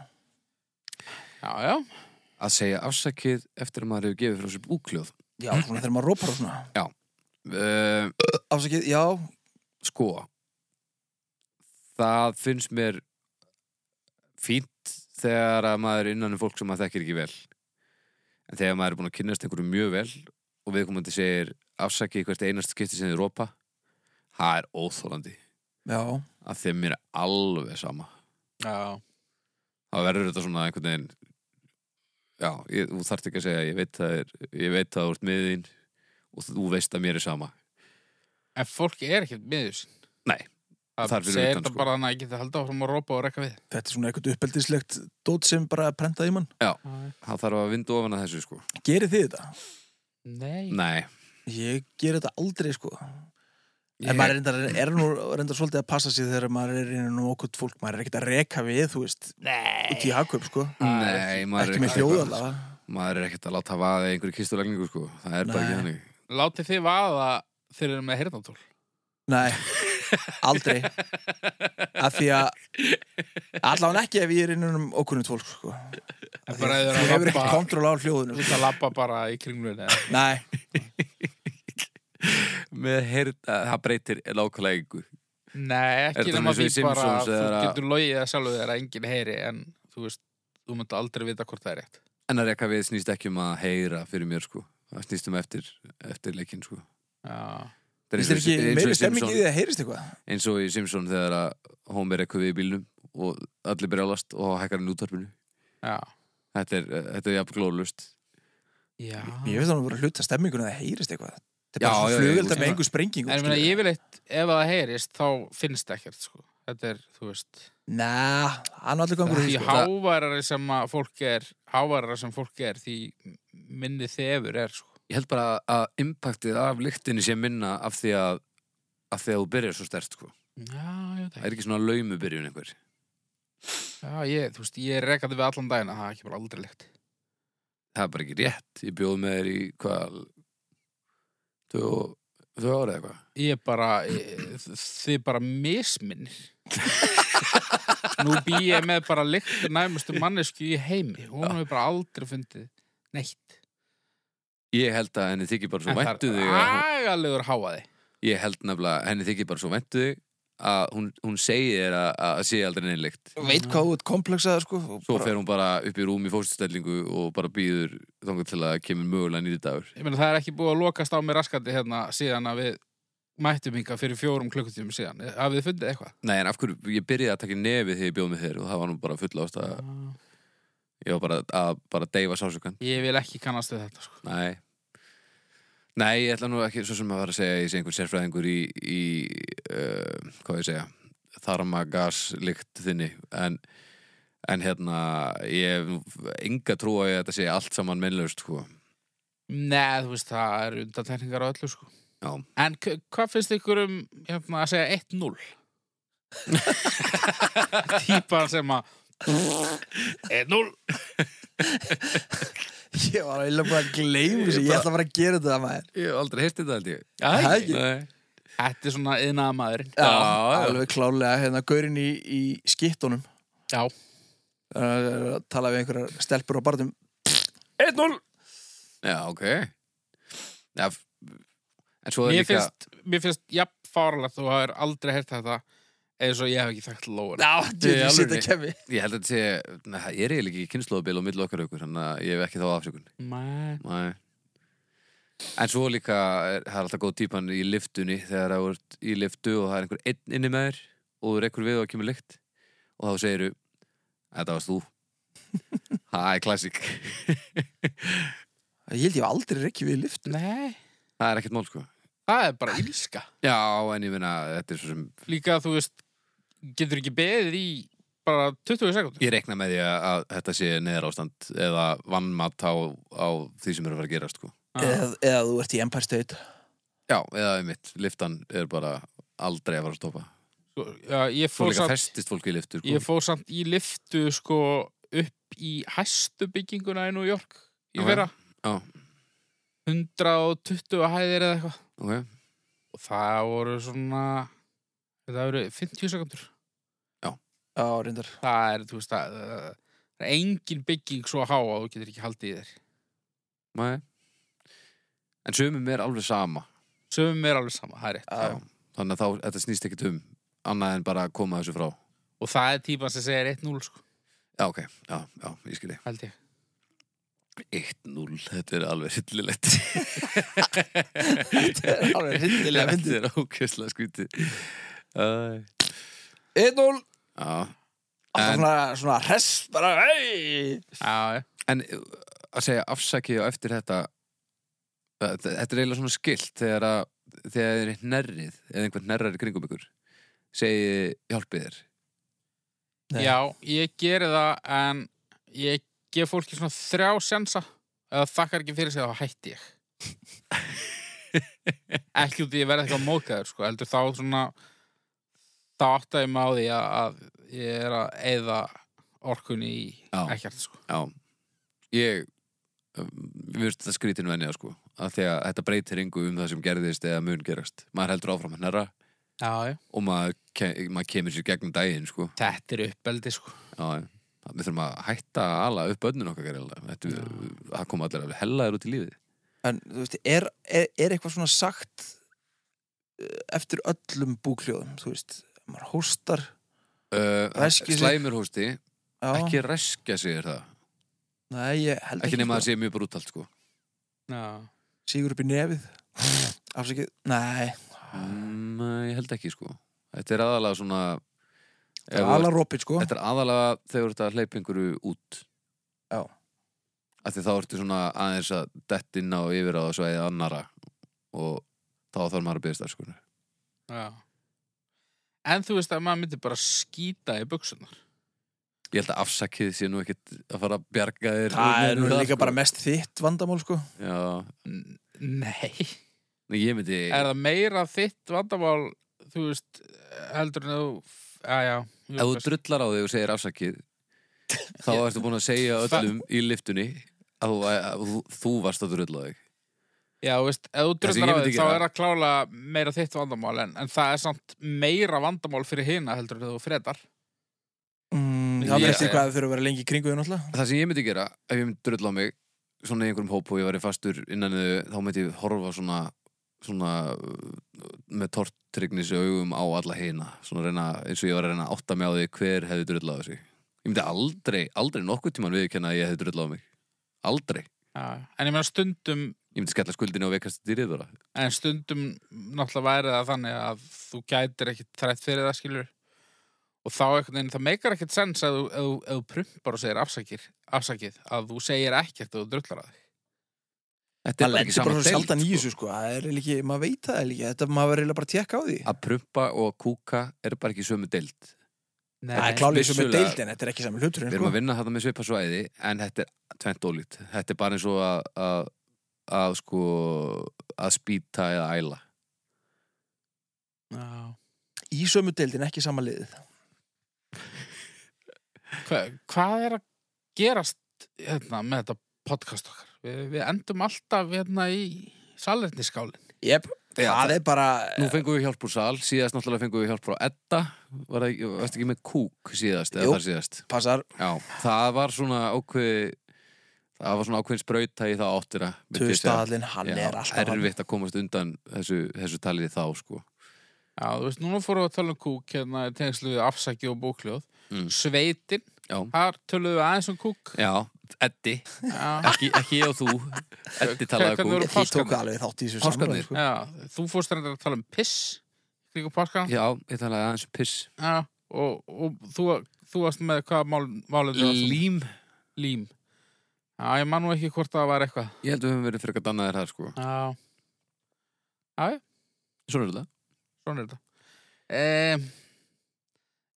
[SPEAKER 3] já, já.
[SPEAKER 1] að segja afsakið eftir að maður hefur gefið frá sér búkljóð
[SPEAKER 2] Já, svona þegar maður rópar og svona.
[SPEAKER 1] uh,
[SPEAKER 2] Afsakið, já.
[SPEAKER 1] sko það finnst mér fínt þegar að maður er innan um fólk sem maður þekkir ekki vel en þegar maður er búin að kynnast einhverju mjög vel og viðkomandi segir afsakið í hvert einast skipti sem þið rópa það er óþólandi
[SPEAKER 2] Já.
[SPEAKER 1] að þeim mér er alveg sama
[SPEAKER 3] Já,
[SPEAKER 1] þá verður þetta svona einhvern veginn já, ég, þú þarft ekki að segja ég veit það, er, ég veit það þú ert með þín og þú veist að mér er sama
[SPEAKER 3] en fólk er ekkert miður sín.
[SPEAKER 1] Nei,
[SPEAKER 3] það
[SPEAKER 1] það er fyrir
[SPEAKER 3] segir
[SPEAKER 1] utan,
[SPEAKER 3] þetta
[SPEAKER 1] sko.
[SPEAKER 3] bara þannig að ég geti haldið áfram að rópa og rekka við.
[SPEAKER 2] Þetta er svona eitthvað uppeldislegt dót sem bara prentaði í mann.
[SPEAKER 1] það þarf að vinda ofan að þessu sko
[SPEAKER 2] Gerið þið þetta?
[SPEAKER 3] Nei.
[SPEAKER 1] nei,
[SPEAKER 2] Ég ger þetta aldrei, sko.
[SPEAKER 1] ég,
[SPEAKER 2] En maður er reyndar, er nú reyndar svolítið að passa sér þegar maður er innan um okkur fólk. Maður er ekkert að reka við, þú veist,
[SPEAKER 3] Nei.
[SPEAKER 2] út í hagkaup, sko.
[SPEAKER 1] nei, maður,
[SPEAKER 2] Ekki
[SPEAKER 1] er
[SPEAKER 2] með hljóð allavega.
[SPEAKER 1] maður er ekkert að láta vaða í einhverju kistulegningu sko það er bara
[SPEAKER 2] Nei.
[SPEAKER 1] ekki þannig
[SPEAKER 3] Látið þið vaða þegar þið eru með hirnatól.
[SPEAKER 2] Nei, aldrei Af því að Allan ekki ef ég er innan um okkunnum fólk sko.
[SPEAKER 3] En
[SPEAKER 2] Af
[SPEAKER 3] bara
[SPEAKER 2] því
[SPEAKER 3] ef
[SPEAKER 2] að
[SPEAKER 3] þið
[SPEAKER 2] Þú
[SPEAKER 3] eru
[SPEAKER 2] hefur
[SPEAKER 3] að
[SPEAKER 2] ekki
[SPEAKER 3] labba,
[SPEAKER 2] kontrol á hljóðinu
[SPEAKER 3] þú ert að labba bara í kringlunni. eða?
[SPEAKER 2] Nei,
[SPEAKER 1] með heyrn, það breytir lákulega yngu
[SPEAKER 3] Nei,
[SPEAKER 1] Er
[SPEAKER 3] ekki
[SPEAKER 1] þetta
[SPEAKER 3] nema
[SPEAKER 1] eins og
[SPEAKER 3] því
[SPEAKER 1] í
[SPEAKER 3] bara
[SPEAKER 1] Simpsons
[SPEAKER 3] að þú
[SPEAKER 1] eða-
[SPEAKER 3] getur logið að sjálfu þér að enginn heyri en þú veist, þú munt aldrei vita hvort það er rétt.
[SPEAKER 1] en að reka við snýst ekki um að heyra fyrir mér sko það snýst um eftir, eftir leikinn sko
[SPEAKER 3] Já.
[SPEAKER 1] Það er
[SPEAKER 2] finnst þér
[SPEAKER 1] eins og- eins
[SPEAKER 2] ekki
[SPEAKER 1] og í
[SPEAKER 2] meiri stemming
[SPEAKER 1] Simpson-
[SPEAKER 2] í því að heyrist eitthvað
[SPEAKER 1] eins og í Simpson þegar að Homer ekkur við í bílnum og allir brjálast og hækkar hann í útvarpinu
[SPEAKER 3] Já.
[SPEAKER 1] þetta er, eh, þetta er jafn glóðlust
[SPEAKER 3] Já.
[SPEAKER 2] Ég veist þannig að vera hluta stemminguna að það heyrist eitthvað Þetta
[SPEAKER 1] Já,
[SPEAKER 2] er bara
[SPEAKER 1] já,
[SPEAKER 2] svona
[SPEAKER 1] já,
[SPEAKER 2] flugölda
[SPEAKER 1] ég-
[SPEAKER 2] með engu sprengingu
[SPEAKER 3] En ég meina, yfirleitt, ef það heyrist, þá finnst ekkert, sko. Þetta er, þú veist,
[SPEAKER 2] Næ, hann var allir gangur
[SPEAKER 3] því
[SPEAKER 2] í því, sko.
[SPEAKER 3] háværari sem að fólk er, háværari sem fólk er, því minni þefur er, sko.
[SPEAKER 1] ég held bara að impactið af lyktinni sé minna af því að af því að þú byrjar svo stert sko.
[SPEAKER 3] Já, ég veit
[SPEAKER 1] það er
[SPEAKER 3] ekki.
[SPEAKER 1] ekki svona laumu byrjun einhver
[SPEAKER 3] Já, ég, þú veist, ég rekaði við allan daginn að það er ekki bara aldrei líkt.
[SPEAKER 1] það er bara ekki rétt, ég bjóð með þér í hvað þau ára eða eitthvað
[SPEAKER 3] Ég bara, ég, þið bara misminnir. Nú bý ég með bara líkt næmustu mannesku í heimi. Hún hefur bara aldrei fundið neitt.
[SPEAKER 1] ég held að henni þykir bara svo væntu þig að hún-
[SPEAKER 3] agalegur háaði.
[SPEAKER 1] ég held nefnilega, að henni þykir bara svo væntu þig að hún, hún segir þér að, að sé aldrei neinleikt
[SPEAKER 2] Veit hvað þú ert komplexað sko, og
[SPEAKER 1] sko. Svo
[SPEAKER 2] bara-
[SPEAKER 1] fer hún bara upp í rúm í fóstustellingu og bara býður þangar til að kemur mögulega nýri dagur.
[SPEAKER 3] Ég meina það er ekki búið að lokast á mér raskandi hérna síðan að við mættum hinga fyrir fjórum klukkutífum síðan. Hafið þið fundið eitthvað?
[SPEAKER 1] Nei, en af hverju, ég byrjaði að taka í nefið þegar ég bjóð með þér og það var nú bara full ást að ég var bara að bara deyfa sásukan.
[SPEAKER 3] Ég vil ekki kannast við þetta sko.
[SPEAKER 1] Nei. Nei, ég ætla nú ekki svo sem að vera að segja að ég sé einhver sérfræðingur í, í uh, hvað ég segja, þarmagaslikt þinni, en, en hérna, ég hef nú enga trú á því að þetta sé allt saman mennlaust, sko.
[SPEAKER 3] Nei, þú veist, það er undantekningar á öllu sko.
[SPEAKER 1] Já.
[SPEAKER 3] En k- hvað finnst ykkur um hérna, að segja 1-0? Típan sem að 1-0
[SPEAKER 2] Ég var eiginlega bara að gleyma þessu Ég ætla bara að gera þetta maður
[SPEAKER 1] Ég hef aldrei heist þetta, held ég.
[SPEAKER 2] Það er ekki-
[SPEAKER 1] Nei.
[SPEAKER 3] Þetta er svona yðnaða maðurinn
[SPEAKER 2] Já,
[SPEAKER 1] já.
[SPEAKER 2] alveg klálega hérna gaurinn í, í skittunum
[SPEAKER 3] Já,
[SPEAKER 2] að tala við einhverjar stelpur á barðum
[SPEAKER 3] 1-0
[SPEAKER 1] Já, ok Já, f- En svo er
[SPEAKER 3] Mér
[SPEAKER 1] líka
[SPEAKER 3] finnst, mér finnst, jafn fárlegt þú hafur aldrei heyrt þetta eins og ég hef ekki þekkt lóður
[SPEAKER 2] Já,
[SPEAKER 1] Í
[SPEAKER 2] djöfull, ég sit
[SPEAKER 1] alvörunni.
[SPEAKER 2] að kemi
[SPEAKER 1] Ég held að þetta sé, Nei, það er eiginlega ekki kynnslóðabil og milli okkar aukur Þannig að ég hef ekki þá afsökun
[SPEAKER 3] Mæ
[SPEAKER 1] Nei En svo líka, er- það er alltaf góð típan í liftunni þegar það er í liftu og það er einhver einn inni með þér og þú rekkur við og það kemur lykt og þá segiru, þetta varst þú. Það er klassík.
[SPEAKER 2] Ég held ég hef aldrei rekkið við í lift
[SPEAKER 3] Nei.
[SPEAKER 1] Það er ekkert mál sko.
[SPEAKER 3] Það er bara ílska.
[SPEAKER 1] Já, en ég finna, þetta er svo sem,
[SPEAKER 3] Líka þú veist, getur ekki beðið í bara 20 sekúndur.
[SPEAKER 1] ég rekna með því að, að þetta sé neðar ástand eða vannmatt á, á því sem er að fara að gerast sko.
[SPEAKER 2] eða, eða þú ert í Empire State
[SPEAKER 1] Já, eða einmitt, liftan er bara aldrei að fara að stoppa.
[SPEAKER 3] Sko, Já, ég
[SPEAKER 1] Svo
[SPEAKER 3] fór
[SPEAKER 1] líka
[SPEAKER 3] samt,
[SPEAKER 1] festist fólk í liftu sko.
[SPEAKER 3] ég fór samt í liftu sko upp í hæstu bygginguna í New York í
[SPEAKER 1] Ok.
[SPEAKER 3] vera.
[SPEAKER 1] Já.
[SPEAKER 3] 120 hæðir eða eitthvað.
[SPEAKER 1] Ok.
[SPEAKER 3] Og það voru svona, það voru 50 sekúndur.
[SPEAKER 2] Já, reyndar
[SPEAKER 3] Það er, þú veist, það, það er engin bygging svo há að þú getur ekki haldið í þér.
[SPEAKER 1] Nei. En sömum er alveg sama.
[SPEAKER 3] Sumum er alveg sama, það er rétt.
[SPEAKER 2] Já.
[SPEAKER 1] Þannig að þá, þetta snýst ekkit um annað en bara að koma þessu frá.
[SPEAKER 3] Og það er típan sem segir 1-0, sko,
[SPEAKER 1] Já, ok. Já, já, ég skilji.
[SPEAKER 3] held ég.
[SPEAKER 1] 1-0, þetta er alveg hryllilegt.
[SPEAKER 2] Þetta er alveg hryllilega
[SPEAKER 1] Þetta
[SPEAKER 2] fyndið.
[SPEAKER 1] er ókesslega skrítið. Æ.
[SPEAKER 2] 1-0
[SPEAKER 1] Já.
[SPEAKER 2] Alltaf
[SPEAKER 1] En-
[SPEAKER 2] svona, svona hress bara hei
[SPEAKER 3] Já, já.
[SPEAKER 1] En uh, að segja afsakið og eftir þetta, uh, þe- þetta er eiginlega svona skilt þegar að, þegar þið er nærrið, eða einhvern nærrið kringum ykkur, segi hjálpið þér.
[SPEAKER 2] Nei.
[SPEAKER 3] já, ég geri það, en ég gef fólki svona þrjá sensa. Ef það þakkar ekki fyrir sig, þá hætti ég. ekki út í að ég verði eitthvað mókaður, sko, heldur þá svona, þá átta ég mig á því að, að ég er að eyða orkunni í
[SPEAKER 1] Já.
[SPEAKER 3] ekkert, sko.
[SPEAKER 1] Já, ég við veist þetta skrítinu enniða sko að því að þetta breytir engu um það sem gerðist eða mun gerast, maður heldur áfram að hnerra
[SPEAKER 3] Já, já.
[SPEAKER 1] og maður, ke maður kemur sér gegnum daginn sko
[SPEAKER 3] Þetta er uppbeldi, sko.
[SPEAKER 1] Já, já. við þurfum að hætta að ala upp önnun okkar gerðilega, þetta það koma allir alveg hellaður út í lífið
[SPEAKER 2] En þú veist, er, er, er eitthvað svona sagt eh, eftir öllum búkljóðum, þú veist maður hóstar
[SPEAKER 1] uh,
[SPEAKER 2] Ræskir sig.
[SPEAKER 1] Slæmur hósti,
[SPEAKER 2] já,
[SPEAKER 1] ekki reskja sig er það
[SPEAKER 2] Nei, ég held
[SPEAKER 1] ekki nema að
[SPEAKER 2] sko.
[SPEAKER 1] það sé mjög brútalt sko
[SPEAKER 3] Já.
[SPEAKER 2] Sígur upp í nefið Afsakið, nei
[SPEAKER 1] mm, ég held ekki sko þetta er aðalega svona ef þú-
[SPEAKER 2] Alla rópið sko
[SPEAKER 1] Þetta er aðalega þegar þetta hleyp einhverju út
[SPEAKER 2] Já.
[SPEAKER 1] Af Því þá ertu svona aðeins að dett inn á yfir á svæðið annara og þá þarf maður að byrja starfskunar
[SPEAKER 3] Já. En þú veist að maður myndi bara skýta í buksunar.
[SPEAKER 1] Ég held að afsakið sé nú ekkit að fara að bjarga þér
[SPEAKER 2] Það er nú líka
[SPEAKER 1] sko.
[SPEAKER 2] bara mest þitt vandamál sko
[SPEAKER 1] Já,
[SPEAKER 3] Nei.
[SPEAKER 1] Nei, ég myndi
[SPEAKER 3] Er það meira þitt vandamál, þú veist, heldur en þú... Já, já. jú,
[SPEAKER 1] Ef þú
[SPEAKER 3] kannski.
[SPEAKER 1] drullar á þig og segir afsakið þá ertu búin að segja öllum í liftunni að þú, að þú, þú varst að drulla á þig
[SPEAKER 3] Já, þú veist, ef þú
[SPEAKER 1] Það sem ég
[SPEAKER 3] drullar á
[SPEAKER 1] myndi
[SPEAKER 3] þig, þá
[SPEAKER 1] gera-
[SPEAKER 3] er það klála meira þitt vandamál, en, en það er samt meira vandamál fyrir hina heldur en þú fredar.
[SPEAKER 2] mm,
[SPEAKER 3] Ég-
[SPEAKER 2] Það er eftir hvað þau þurfa að vera lengi í kringu þau náttúrulega
[SPEAKER 1] það sem ég myndi gera ef ég myndi drulla á mig svona í einhverjum hóp og ég væri fastur innan þau þá myndi ég horfa svona svona uh, með tortryggnis augum á alla heina svona reyna, eins og ég var að reyna að átta mig á því hver hefði drulla á þessu ég myndi aldrei, aldrei nokkuð tíman viðkenna að ég hefði drulla á mig aldrei,
[SPEAKER 3] Já. En ég meina stundum,
[SPEAKER 1] ég myndi skella skuldinu og veikast dýrið bara,
[SPEAKER 3] en stundum náttúrulega væri það þannig að þú gætir ekki þrætt fyrir það, skilur. Og þá einhvern veginn, það meikar ekkert sens að þú, ef þú, ef þú prumpar og segir afsakir, afsakið, að þú segir ekkert ef þú drullar að þig.
[SPEAKER 1] þetta
[SPEAKER 2] Það
[SPEAKER 1] er bara
[SPEAKER 2] lendir
[SPEAKER 1] ekki sama
[SPEAKER 2] bara svo sjaldan í
[SPEAKER 1] deild,
[SPEAKER 2] þessu sko Það er ekki, maður veit það ekki Þetta maður verður eiginlega bara að tekka á því
[SPEAKER 1] sko. að prumpa og kúka er bara ekki sömu deild
[SPEAKER 2] Það er klálega sem er
[SPEAKER 1] vissulega-
[SPEAKER 2] deildin, þetta er ekki saman hluturinn
[SPEAKER 1] Við erum
[SPEAKER 2] sko.
[SPEAKER 1] að vinna þetta með svipa svæði en þetta er tvent ólít Þetta er bara eins og að, að, að sko að spýta eða æla
[SPEAKER 3] Já.
[SPEAKER 2] Í sömu deildin, ekki saman liðið
[SPEAKER 3] Hva, hvað er að gerast hérna, með þetta podcast okkar? Við, við endum alltaf hérna í salernisskálin.
[SPEAKER 2] Jep,
[SPEAKER 1] Já,
[SPEAKER 2] það er bara
[SPEAKER 1] Nú fengum við hjálp úr sal, síðast náttúrulega fengum við hjálp frá Edda Var það, ekki- varstu ekki með kúk síðast
[SPEAKER 2] Jú.
[SPEAKER 1] eða þar síðast
[SPEAKER 2] Passar
[SPEAKER 1] Já, það var svona ákveð það var svona ákveðin sprauta í það áttina myndi ég segja.
[SPEAKER 2] Tustahallin, hann
[SPEAKER 1] Já,
[SPEAKER 2] er alltaf hann.
[SPEAKER 1] Erfitt að komast undan þessu, þessu talið þá sko
[SPEAKER 3] Já, þú veist, núna fórum við að tala um kúk hérna í tengslu við afsæki og bókljóð.
[SPEAKER 1] Mm.
[SPEAKER 3] Sveitin,
[SPEAKER 1] Já.
[SPEAKER 3] þar töluðum við aðeins um kúk.
[SPEAKER 1] Já, Eddi,
[SPEAKER 3] já,
[SPEAKER 1] ekki, ekki ég og þú Eddi talaði
[SPEAKER 3] Hvernig
[SPEAKER 1] okkur
[SPEAKER 3] voru
[SPEAKER 2] Ég, ég tók
[SPEAKER 3] páskarnir?
[SPEAKER 2] alveg þátt í þessu
[SPEAKER 1] Páskarnir?
[SPEAKER 2] samræði, sko.
[SPEAKER 3] já, þú fórst reyndar að tala um piss kringu páskan
[SPEAKER 1] Já, ég talaði aðeins um piss
[SPEAKER 3] já, og, og þú, þú varst með hvað mál, málið þér var?
[SPEAKER 1] Lím,
[SPEAKER 3] lím já, ég man nú ekki hvort það var eitthvað
[SPEAKER 1] ég held að við höfum verið frekar dannaðir það sko
[SPEAKER 3] já,
[SPEAKER 1] Svona er þetta
[SPEAKER 3] svona er þetta um,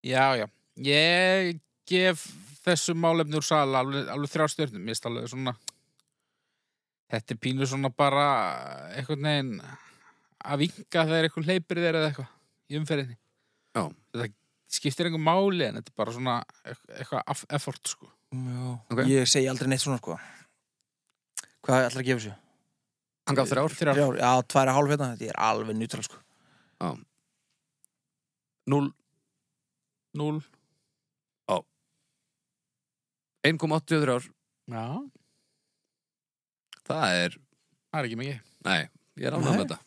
[SPEAKER 3] já, já ég gef þessu málefni úr sal alveg, alveg þrjá stjörnum, ég stálega svona þetta er pínu svona bara einhvern veginn að vinka þegar einhvern hleypir þér eða eitthvað í umferðinni
[SPEAKER 1] Já.
[SPEAKER 3] þetta skiptir einhver máli en þetta er bara svona eit- eitthvað aff- effort sko
[SPEAKER 2] Já,
[SPEAKER 1] Ok.
[SPEAKER 2] Ég segi aldrei neitt svona sko Hvað ætlar að gefa sér?
[SPEAKER 1] Hann gaf þrjár,
[SPEAKER 3] þrjár.
[SPEAKER 2] Já, tværa hálf hérna, þetta er alveg nýtral sko
[SPEAKER 1] 0,
[SPEAKER 3] 0
[SPEAKER 1] 1,80 þrjár
[SPEAKER 3] já,
[SPEAKER 1] Það er,
[SPEAKER 3] það er ekki mikið
[SPEAKER 1] nei, ég er ánægð með
[SPEAKER 2] Nei.
[SPEAKER 1] þetta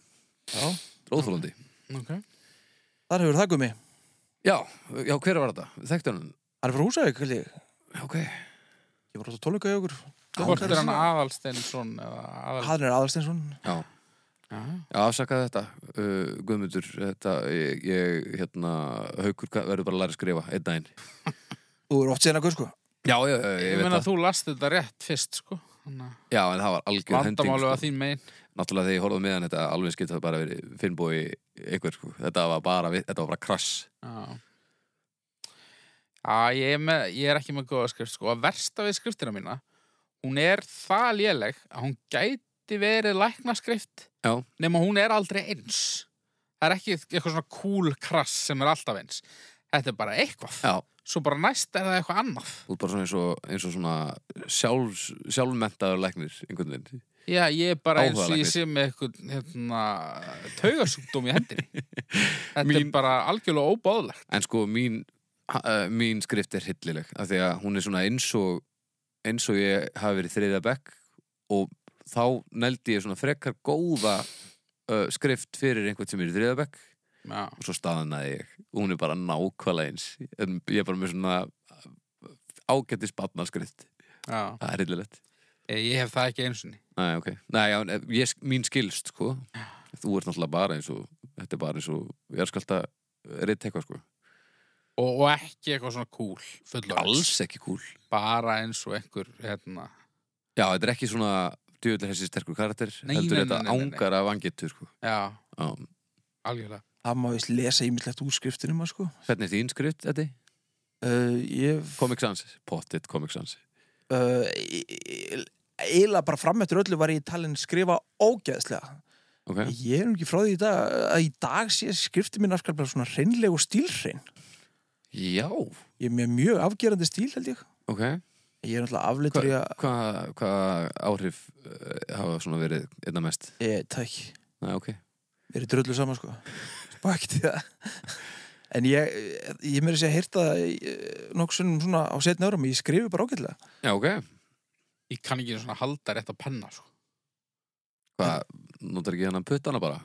[SPEAKER 2] Já.
[SPEAKER 1] Róðþólandi
[SPEAKER 3] okay.
[SPEAKER 2] Þar hefur það gummi
[SPEAKER 1] Já, já, hver var þetta? Þekktu hann?
[SPEAKER 2] Það er frá Húsavík, held ég
[SPEAKER 1] Ok,
[SPEAKER 2] Ég var átt að tónleika í okkur
[SPEAKER 3] hvort er hann
[SPEAKER 2] Hann
[SPEAKER 3] aðalsteinsson eða aðal...
[SPEAKER 2] er aðalsteinsson
[SPEAKER 1] já,
[SPEAKER 3] já,
[SPEAKER 1] já afsakaði þetta uh, Guðmundur, þetta ég, ég hérna, haukur hvað- verður bara að læra að skrifa einn daginn
[SPEAKER 2] Þú er oft síðan að guð sko
[SPEAKER 1] Já, já, já, ég,
[SPEAKER 3] ég
[SPEAKER 1] veit
[SPEAKER 3] meina
[SPEAKER 1] það
[SPEAKER 3] að þú last þetta rétt fyrst sko Þannig að
[SPEAKER 1] Já, en það var algjör hending
[SPEAKER 3] vandamálu
[SPEAKER 1] sko.
[SPEAKER 3] að þín megin
[SPEAKER 1] Náttúrulega þegar ég horfði meðan þetta alveg skipt það bara verið Finnbói einhver sko. þetta, var bara, við- þetta var bara krass
[SPEAKER 3] Já, já ég, er með, ég er ekki með góða skrift sko. að versta við skriftina mína hún er það léleg að hún gæti verið lækna skrift
[SPEAKER 1] Já.
[SPEAKER 3] nema hún er aldrei eins það er ekki eitthvað svona cool krass sem er alltaf eins þetta er bara eitthvað
[SPEAKER 1] Já.
[SPEAKER 3] svo bara næst er það eitthvað annað
[SPEAKER 1] Þú ert bara svona eins og, eins og svona sjálf, sjálfmentaður læknir einhvern veginn.
[SPEAKER 3] já, ég er bara eins og ég
[SPEAKER 1] Áhugalæknir.
[SPEAKER 3] sé með eitthvað hérna, taugasúkdóm í hendinni þetta
[SPEAKER 1] Mín-
[SPEAKER 3] er bara algjörlega óbáðlegt
[SPEAKER 1] En sko mín, uh, mín skrift er hillileg af því að hún er svona eins og eins og ég hafi verið þriðja bekk og þá nældi ég svona frekar góða uh, skrift fyrir einhvern sem er í þriðja bekk
[SPEAKER 3] já,
[SPEAKER 1] og svo staðanaði ég og hún er bara nákvæmlega eins en ég er bara með svona ágættis barnaskrift
[SPEAKER 3] já.
[SPEAKER 1] það er hillilegt
[SPEAKER 3] Eh, Ég ég hef það ekki eins og ni
[SPEAKER 1] Nei, ok. Nei, já, en ég, mín skilst, sko. Þú ert náttúrulega bara eins og, þetta er bara eins og, ég er skalta reitt eitthvað, sko.
[SPEAKER 3] og, og ekki eitthvað svona cool fullorðins.
[SPEAKER 1] Alls ekki kúl.
[SPEAKER 3] Bara eins og einhver hérna.
[SPEAKER 1] Já, þetta er ekki svona djöðlega hessi sterkur karakter.
[SPEAKER 3] Nei,
[SPEAKER 1] heldur
[SPEAKER 3] nei,
[SPEAKER 1] þetta
[SPEAKER 3] nei, nei, nei, nei.
[SPEAKER 1] ángar af angetur, sko.
[SPEAKER 3] Já,
[SPEAKER 1] Já.
[SPEAKER 3] algjörlega
[SPEAKER 2] Það má veist lesa ímislegt úr skriftinum sko.
[SPEAKER 1] Hvernig er þín skrift, Eddi?
[SPEAKER 2] uh, Ég
[SPEAKER 1] Comic Sans. Pottit Comic Sans.
[SPEAKER 2] uh, Eila bara fram eftir öllu var ég talin skrifa ógeðslega
[SPEAKER 1] Ok.
[SPEAKER 2] Ég er nú ekki frá því í dag að í dag sé skriftin minn afskaplega svona hreinleg og stílhrein
[SPEAKER 1] Já.
[SPEAKER 2] Ég er með mjög afgerandi stíl held ég
[SPEAKER 1] Ok.
[SPEAKER 2] Ég er náttúrulega afleitur í
[SPEAKER 1] Hvað
[SPEAKER 2] að
[SPEAKER 1] hva, hva áhrif uh, hafa svona verið einna mest?
[SPEAKER 2] Ég, takk,
[SPEAKER 1] Nei, ok.
[SPEAKER 2] við erum drullu saman sko Spá ekki til það En ég, ég meiri sér að heyrta eh, nokkuð sunnum svona á setna árum Ég skrifi bara ágætlega
[SPEAKER 1] Já, ok.
[SPEAKER 3] Ég kann ekki svona halda rétt að penna sko.
[SPEAKER 1] Hvað, notar ekki hann að putta hana bara?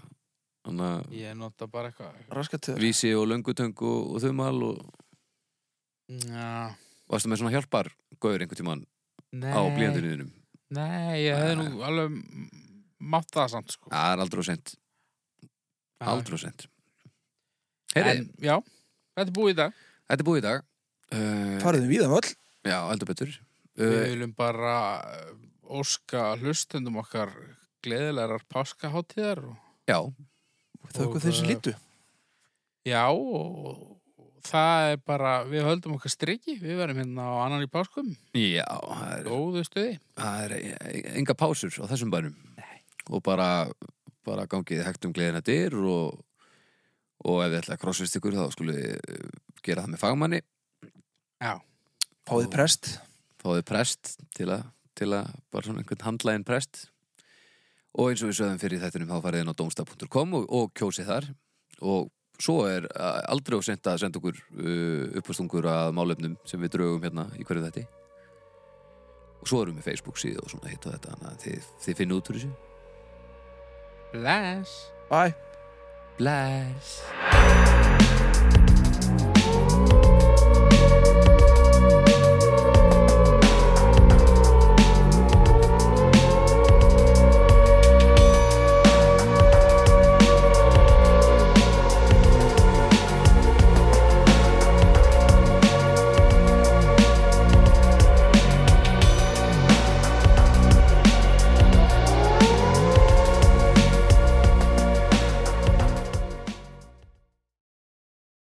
[SPEAKER 1] Þannig að...
[SPEAKER 3] Ég nota bara eitthvað
[SPEAKER 2] Raskat til það
[SPEAKER 1] vísi og löngutöng og, og þumal og
[SPEAKER 3] Já,
[SPEAKER 1] varstu með svona hjálpar gauður einhvern tímann
[SPEAKER 3] nei,
[SPEAKER 1] á blíjanduninum
[SPEAKER 3] Nei, ég hefði nú alveg mátt það samt sko.
[SPEAKER 1] það er aldrei og sent
[SPEAKER 3] Já.
[SPEAKER 1] aldrei og sent heyri,
[SPEAKER 3] En, Já, þetta er búið í dag
[SPEAKER 1] þetta er búið í dag uh,
[SPEAKER 2] Farðum við það öll
[SPEAKER 1] já, heldur betur
[SPEAKER 3] Við
[SPEAKER 1] uh,
[SPEAKER 3] viljum bara uh, óska hlustendum okkar gleðilegar páskaháttíðar og
[SPEAKER 1] já,
[SPEAKER 2] Þökkum
[SPEAKER 3] Og,
[SPEAKER 2] þeir sem
[SPEAKER 3] eh,
[SPEAKER 2] lítu
[SPEAKER 3] Já, og það er bara, við höldum okkar strikki, við verðum hérna á annan í páskum,
[SPEAKER 1] já það er,
[SPEAKER 3] góðu stuði.
[SPEAKER 1] það er e- enga pásur á þessum bænum og bara, bara gangið hægt um gleðina dyr og, og ef þið ætla að crossfist ykkur þá skulle gera það með fagmanni
[SPEAKER 2] Fáðið prest
[SPEAKER 1] fáið prest til að, til að bara svona einhvern handlægin prest og eins og við sögum fyrir þettunum þá farið inn á domstaf.com og, og kjósið þar og svo er uh, aldrei og sent að senda okkur uh, uppastungur að málefnum sem við draugum hérna í hverju þetti og svo erum við Facebook síðu og svona hitt og þetta þannig að þið, þið finnum út úr þessu
[SPEAKER 3] Bless!
[SPEAKER 2] Bye
[SPEAKER 1] Bless